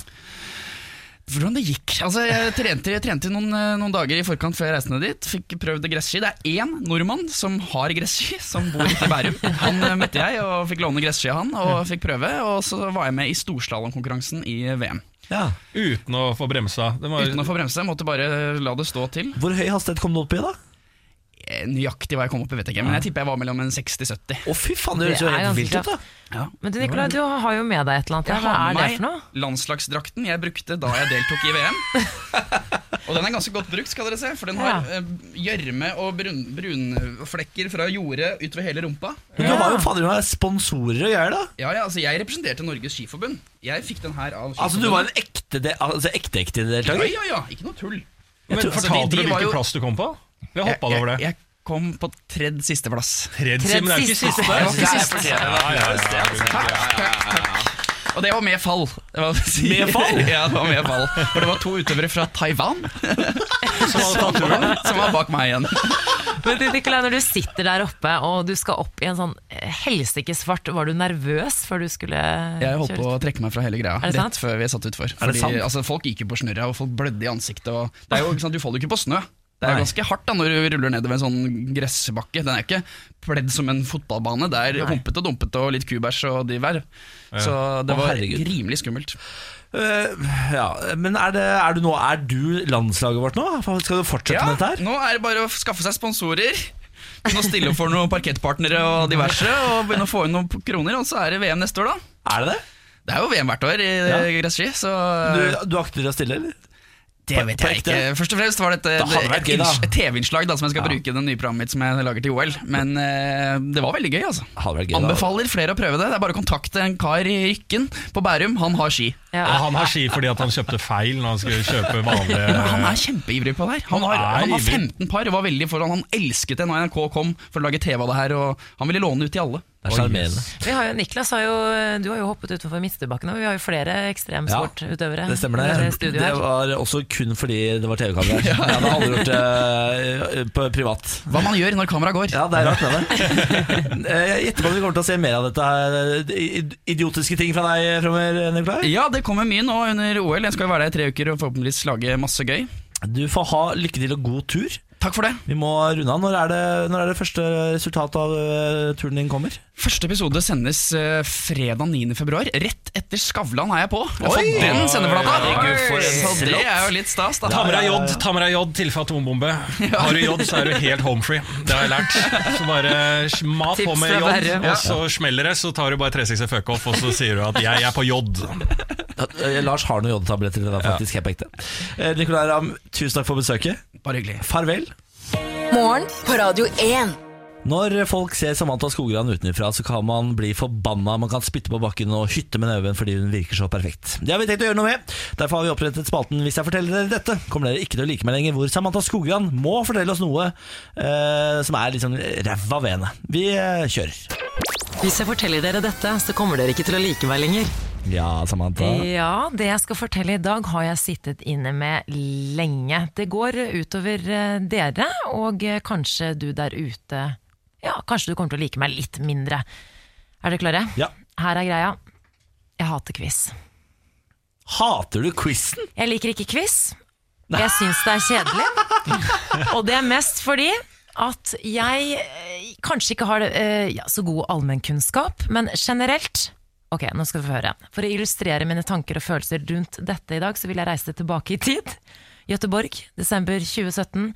Speaker 7: For hvordan det gikk. Altså, jeg trente, jeg trente noen, eh, noen dager i forkant før jeg reiste ned dit. Fikk prøvd gresski. Det er én nordmann som har gresski, som bor ute i Bærum. Han eh, møtte jeg og fikk låne gresski av han, og fikk prøve. Og så var jeg med i storslalåmkonkurransen i VM.
Speaker 1: Ja.
Speaker 2: Uten å få bremsa. Det var,
Speaker 7: Uten å få bremse, måtte bare la det stå til.
Speaker 1: Hvor høy hastighet kom du opp i, da?
Speaker 7: Eh, Nøyaktig hva jeg kom opp i, vet jeg ikke, men jeg tipper jeg var mellom en 60-70.
Speaker 1: Å, fy faen, det høres
Speaker 3: Det
Speaker 1: jo
Speaker 3: er
Speaker 1: helt
Speaker 3: ganske
Speaker 1: vilt ut, da.
Speaker 7: Ja.
Speaker 3: Men du Nikolai, du har jo med deg et eller annet.
Speaker 7: Jeg
Speaker 3: her. Hva
Speaker 7: har
Speaker 3: er det
Speaker 7: med
Speaker 3: for noe?
Speaker 7: meg landslagsdrakten jeg brukte da jeg deltok i
Speaker 3: <laughs>
Speaker 7: VM. og den er ganske godt brukt, skal dere se. For den har
Speaker 3: Ja.
Speaker 7: eh, gjørme og brun- brunflekker fra jordet utover hele rumpa.
Speaker 1: Men du var jo fader meg sponsorer og greier, da.
Speaker 7: Ja, ja, altså Jeg representerte Norges Skiforbund. Jeg fikk den her av
Speaker 1: Altså, du var en ekte de- altså, ekte-ekte
Speaker 7: Ja,
Speaker 1: deltaker?
Speaker 7: ja, ja, ikke noe tull.
Speaker 2: men
Speaker 1: tror-
Speaker 7: altså, de-
Speaker 2: fortalte
Speaker 7: de
Speaker 2: du
Speaker 7: var
Speaker 2: hvilken
Speaker 7: jo-
Speaker 2: plass du kom på? Vi har hoppa over det.
Speaker 7: Jeg, jeg kom på tredje sisteplass.
Speaker 2: Tredje, men det er ikke siste.
Speaker 3: Tredje
Speaker 7: Det var ikke
Speaker 3: siste.
Speaker 7: siste.
Speaker 2: Ja, ja, ja,
Speaker 7: Og det var med fall. Det var,
Speaker 1: Med fall?
Speaker 7: <laughs> ja, det var med fall. For det var to utøvere fra
Speaker 1: <laughs>
Speaker 7: Taiwan <laughs> som, som var bak meg igjen.
Speaker 3: Men du, Nikolai, når du sitter der oppe og du skal opp i en sånn eh, helsike svart, var du nervøs før du skulle
Speaker 7: Jeg holdt på å trekke meg fra hele greia
Speaker 3: Er det sant?
Speaker 7: rett før vi satt utfor.
Speaker 1: Er det
Speaker 7: Fordi,
Speaker 1: sant?
Speaker 7: altså, folk gikk jo på snørra, og folk blødde i ansiktet. Og det er jo, ikke sant, du faller jo ikke på snø. Det er
Speaker 1: Nei.
Speaker 7: jo ganske hardt da når du ruller nedover en sånn gressbakke. Den er ikke pledd som en fotballbane. Det er humpete og dumpete og litt kubæsj og divær. Så det
Speaker 1: Å,
Speaker 7: var
Speaker 1: herregud.
Speaker 7: rimelig skummelt.
Speaker 1: Eh, ja. Men er, det, er, du nå, er du landslaget vårt nå? Skal du fortsette
Speaker 7: Ja,
Speaker 1: med dette her?
Speaker 7: nå er det bare å skaffe seg sponsorer. Begynne å stille opp for noen parkettpartnere og diverse, og begynne å få inn noen kroner. Og så er det VM neste år, da.
Speaker 1: Er det det?
Speaker 7: Det er jo VM hvert år i
Speaker 1: Ja.
Speaker 7: gresski, så
Speaker 1: Du, du akter å stille, eller?
Speaker 7: Eh, Det vet jeg
Speaker 1: Perfekt,
Speaker 7: ikke.
Speaker 1: det.
Speaker 7: Først og fremst var dette
Speaker 1: Det hadde
Speaker 7: et,
Speaker 1: vært gøy, da.
Speaker 7: inns- et TV-innslag da, som jeg skal bruke i det nye programmet mitt som jeg lager til OL. Men eh, det var veldig gøy, altså.
Speaker 1: Hadde vært gøy, da.
Speaker 7: Anbefaler flere å prøve det. Det er bare å kontakte en kar i Rykken på Bærum. Han har ski.
Speaker 3: Ja.
Speaker 2: Ja, han har ski fordi at han kjøpte feil når han skulle kjøpe
Speaker 1: Eh.
Speaker 2: vanlige
Speaker 7: Men han er kjempeivrig på det her. Han har,
Speaker 2: Han er
Speaker 7: han har
Speaker 2: ivrig.
Speaker 7: 15 par. og Var veldig foran. Han elsket det når NRK kom for å lage TV av det her, og han ville låne ut til alle.
Speaker 1: Det er sjarmerende.
Speaker 3: Vi har jo, Niklas har jo, du har jo hoppet utenfor Midtstubbakken, og vi har jo flere ekstremsportutøvere.
Speaker 1: Det stemmer
Speaker 3: i
Speaker 1: det.
Speaker 3: studio
Speaker 1: Det
Speaker 3: her.
Speaker 1: var også kun fordi det var TV-kamera
Speaker 7: <laughs>
Speaker 1: her. Jeg hadde aldri gjort det eh, på privat.
Speaker 7: Hva man gjør når kameraet går.
Speaker 1: Ja, det er rart
Speaker 7: <laughs>
Speaker 1: med det. Eh, Jeg gjetter på at vi kommer til å se mer av dette her eh, i- idiotiske ting fra deg fremover, Nikolai.
Speaker 7: Ja, det kommer mye nå under OL. Jeg skal jo være der i tre uker og forhåpentligvis lage masse gøy.
Speaker 1: Du får ha lykke til og god tur.
Speaker 7: Takk for det.
Speaker 1: Vi må runde av. Når er det, når er det første resultat av eh, turen din kommer?
Speaker 7: Første episode sendes eh, fredag 9. februar. Rett etter Skavlan er jeg på. Jeg har
Speaker 1: Oi!
Speaker 7: fått den sendeflata!
Speaker 1: Herregud, for en
Speaker 7: Så det
Speaker 1: slott.
Speaker 7: er jo litt stas, da.
Speaker 2: Ta med deg jod, ta med deg jod, tilfelle atombombe. Har du jod, så er du helt homefree. Det har jeg lært. Så bare eh, mat på
Speaker 3: Tips
Speaker 2: med
Speaker 3: fra
Speaker 2: jod,
Speaker 3: Bærum.
Speaker 2: og så smeller det. Så tar du bare 360 fuck off, og så sier du at 'jeg er på jod'.
Speaker 1: Eh, Lars har noen jodtabletter til deg, faktisk. Helt på ekte. Eh, Nicolai Ramm, tusen takk for besøket.
Speaker 7: Bare hyggelig.
Speaker 1: Farvel.
Speaker 4: Morgen på Radio 1.
Speaker 1: Når folk ser Samantha Skogran utenfra, så kan man bli forbanna. Man kan spytte på bakken og hytte med neven fordi hun virker så perfekt. Det har vi tenkt å gjøre noe med. Derfor har vi opprettet spalten Hvis jeg forteller dere dette, kommer dere ikke til å like meg lenger, hvor Samantha Skogran må fortelle oss noe eh, som er litt sånn ræva ved henne. Vi eh, kjører.
Speaker 8: Hvis jeg forteller dere dette, så kommer dere ikke til å like meg lenger.
Speaker 1: Ja, Samantha.
Speaker 3: Ja, det jeg skal fortelle i dag har jeg sittet inne med lenge. Det går utover eh, dere, og eh, kanskje du der ute Ja, kanskje du kommer til å like meg litt mindre. Er dere klare?
Speaker 1: Ja.
Speaker 3: Her er greia. Jeg hater quiz.
Speaker 1: Hater du quizen?
Speaker 3: Jeg liker ikke quiz. Jeg syns det er kjedelig. Og det er mest fordi at jeg eh, kanskje ikke har eh, ja, så god allmennkunnskap, men generelt Ok, nå skal vi få høre. For å illustrere mine tanker og følelser rundt dette i dag, så vil jeg reise tilbake i tid. Gøteborg, desember 2017.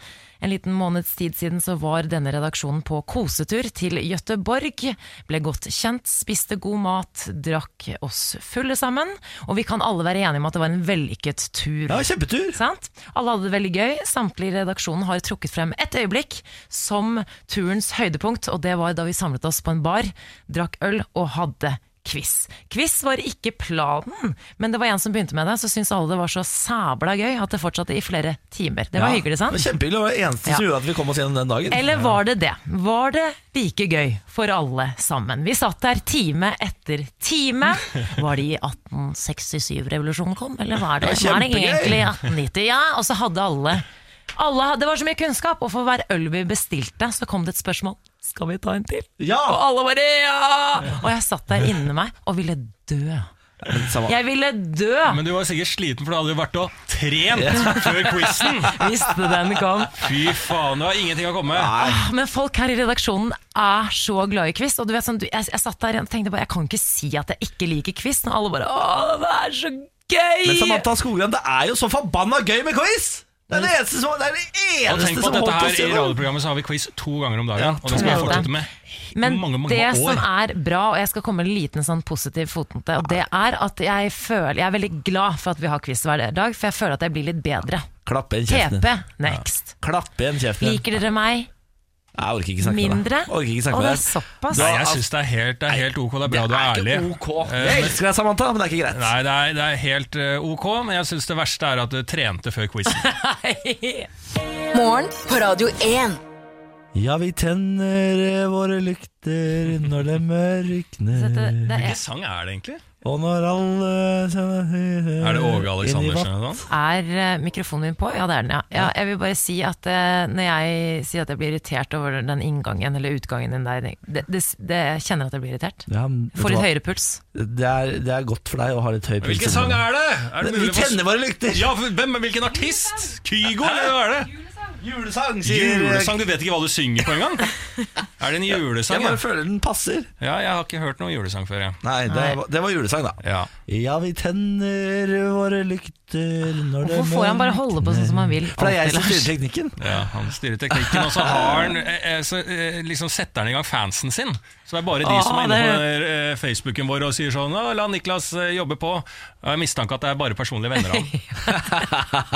Speaker 3: En liten måneds tid siden så var denne redaksjonen på kosetur til Gøteborg. Ble godt kjent, spiste god mat, drakk oss fulle sammen. Og vi kan alle være enige om at det var en vellykket tur.
Speaker 1: Ja, kjempetur.
Speaker 3: Sant? Alle hadde det veldig gøy. Samtlige i redaksjonen har trukket frem et øyeblikk som turens høydepunkt, og det var da vi samlet oss på en bar, drakk øl og hadde quiz. Quiz var ikke planen, men det var en som begynte med det, så syntes alle det var så sæbla gøy at det fortsatte i flere timer. Det var hyggelig, sant?
Speaker 1: Det var kjempehyggelig. Det var det eneste som
Speaker 3: Ja.
Speaker 1: gjorde at vi kom oss gjennom den dagen.
Speaker 3: Eller var det det? Var det like gøy for alle sammen? Vi satt der time etter time. Var det i 1867-revolusjonen kom, eller var det,
Speaker 1: Ja,
Speaker 3: var det
Speaker 1: kjempegøy!
Speaker 3: egentlig i 1890? Ja, og så hadde alle, alle Det var så mye kunnskap, og for hver øl vi bestilte, så kom det et spørsmål. Skal vi ta en til?
Speaker 1: Ja!
Speaker 3: Og alle bare ja! Og jeg satt der inni meg og ville dø
Speaker 1: Samme.
Speaker 3: Jeg ville dø
Speaker 2: Men du var sikkert sliten, for du hadde jo vært og trent før quizen.
Speaker 3: hvis den kom.
Speaker 2: Fy faen, det var ingenting å komme med.
Speaker 3: Ah, Men folk her i redaksjonen er så glad i quiz. Og du vet sånn, du, jeg, jeg satt der og tenkte bare, jeg kan ikke si at jeg ikke liker quiz. Når alle bare Å, det er så gøy!
Speaker 1: Men Samantha Skogran, det er jo så forbanna gøy med quiz! Det er det eneste som, det er det
Speaker 2: Og tenk
Speaker 1: eneste
Speaker 2: på
Speaker 1: som
Speaker 2: at
Speaker 1: holdt
Speaker 2: dette her
Speaker 1: oss
Speaker 2: I
Speaker 1: gjennom.
Speaker 2: radioprogrammet så har vi quiz to ganger om dagen.
Speaker 1: Ja,
Speaker 2: og det skal vi
Speaker 3: to
Speaker 2: fortsette
Speaker 3: ganger.
Speaker 2: med
Speaker 3: Men
Speaker 2: mange, mange
Speaker 3: det
Speaker 2: år.
Speaker 3: som er bra, og jeg skal komme med en liten sånn positiv fotnote, og det er at jeg føler Jeg er veldig glad for at vi har quiz hver dag, for jeg føler at jeg blir litt bedre.
Speaker 1: Klapp igjen kjeften
Speaker 3: TP
Speaker 1: din.
Speaker 3: next.
Speaker 1: Klapp igjen kjeften din.
Speaker 3: Liker dere meg
Speaker 1: Jeg orker ikke snakke med
Speaker 3: mindre?
Speaker 1: deg. Orker ikke
Speaker 3: og
Speaker 1: snakke
Speaker 3: det
Speaker 1: med
Speaker 3: er
Speaker 1: deg.
Speaker 3: såpass.
Speaker 2: Nei, jeg syns det er helt, det er helt ok. Det er bra du er ærlig.
Speaker 1: OK.
Speaker 2: Eh,
Speaker 1: Jeg
Speaker 2: men-
Speaker 1: elsker deg, Samantha, men det er ikke greit.
Speaker 2: Nei, det er, det er helt eh, ok, men jeg syns det verste er at du trente før quizen.
Speaker 4: Morgen på Radio 1.
Speaker 1: Ja, vi tenner eh, våre lykter når
Speaker 3: <laughs>
Speaker 1: det
Speaker 3: Så
Speaker 1: mørkner,
Speaker 3: dette- det
Speaker 2: Hvilken
Speaker 3: er,
Speaker 2: sang er det egentlig?
Speaker 1: og når alle
Speaker 2: Er det Åge Aleksandersen eller noe sånt?
Speaker 3: er eh, mikrofonen min på? Ja, det er den, ja. ja jeg vil bare si at eh, når jeg sier at jeg blir irritert over den inngangen eller utgangen din der, det, det, det jeg kjenner at jeg blir irritert.
Speaker 1: Ja, men
Speaker 3: Får
Speaker 1: vet du
Speaker 3: litt
Speaker 1: hva?
Speaker 3: høyere puls.
Speaker 1: det er, det er godt for deg å ha litt høy puls.
Speaker 2: Hvilken sang er det? Er det
Speaker 1: Vi
Speaker 2: mulig for-
Speaker 1: tenner våre lykter!
Speaker 2: Ja, for hvem, hvilken artist? Kygo, eller hva er det?
Speaker 1: Julesang,
Speaker 2: Julesang? Du vet ikke hva du synger på engang? Er det en
Speaker 1: Jeg
Speaker 2: julesang?
Speaker 1: bare
Speaker 2: ja?
Speaker 1: føler den passer.
Speaker 2: Ja, jeg har ikke hørt noen julesang før, jeg.
Speaker 1: Nei, det,
Speaker 3: Nei.
Speaker 1: var- det var julesang, da.
Speaker 2: Ja.
Speaker 1: Ja, vi tenner våre lykter når det
Speaker 3: Hvorfor får han bare
Speaker 1: mørkner.
Speaker 3: holde på sånn som han vil?
Speaker 1: For det er jeg
Speaker 3: alltid,
Speaker 1: som
Speaker 3: Lars?
Speaker 1: styrer teknikken.
Speaker 2: Ja, han styrer teknikken, og så har han eh, eh, så, eh, liksom setter han i gang fansen sin. Så det er bare de
Speaker 3: Åh,
Speaker 2: som er inne på den der, eh, Facebooken vår og sier sånn «Å, 'La Niklas eh, jobbe på'. Jeg har mistanke at det er bare personlige venner
Speaker 1: <laughs>
Speaker 2: av ham.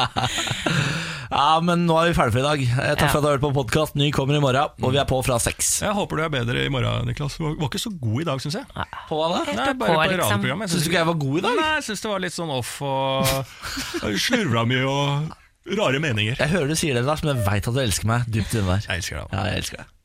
Speaker 1: Ja, men nå er vi ferdige for i dag. Eh, Takk
Speaker 3: Ja.
Speaker 1: for at du har hørt på podkast. Ny kommer i morgen, og vi er på fra seks.
Speaker 2: Jeg håper du er bedre i morgen, Niklas. Du var var ikke så god i dag, syns jeg.
Speaker 1: På hva da?
Speaker 2: Nei,
Speaker 3: ok,
Speaker 2: bare på
Speaker 3: liksom.
Speaker 2: radioprogrammet.
Speaker 1: Syns du ikke jeg var god i dag?
Speaker 2: Nei, jeg syns det var litt sånn off og
Speaker 1: <laughs>
Speaker 2: slurva mye og rare meninger.
Speaker 1: Jeg hører du sier det, Lars, men jeg veit at du elsker meg dypt inne der.
Speaker 2: Jeg elsker deg.
Speaker 1: Ja, jeg elsker deg.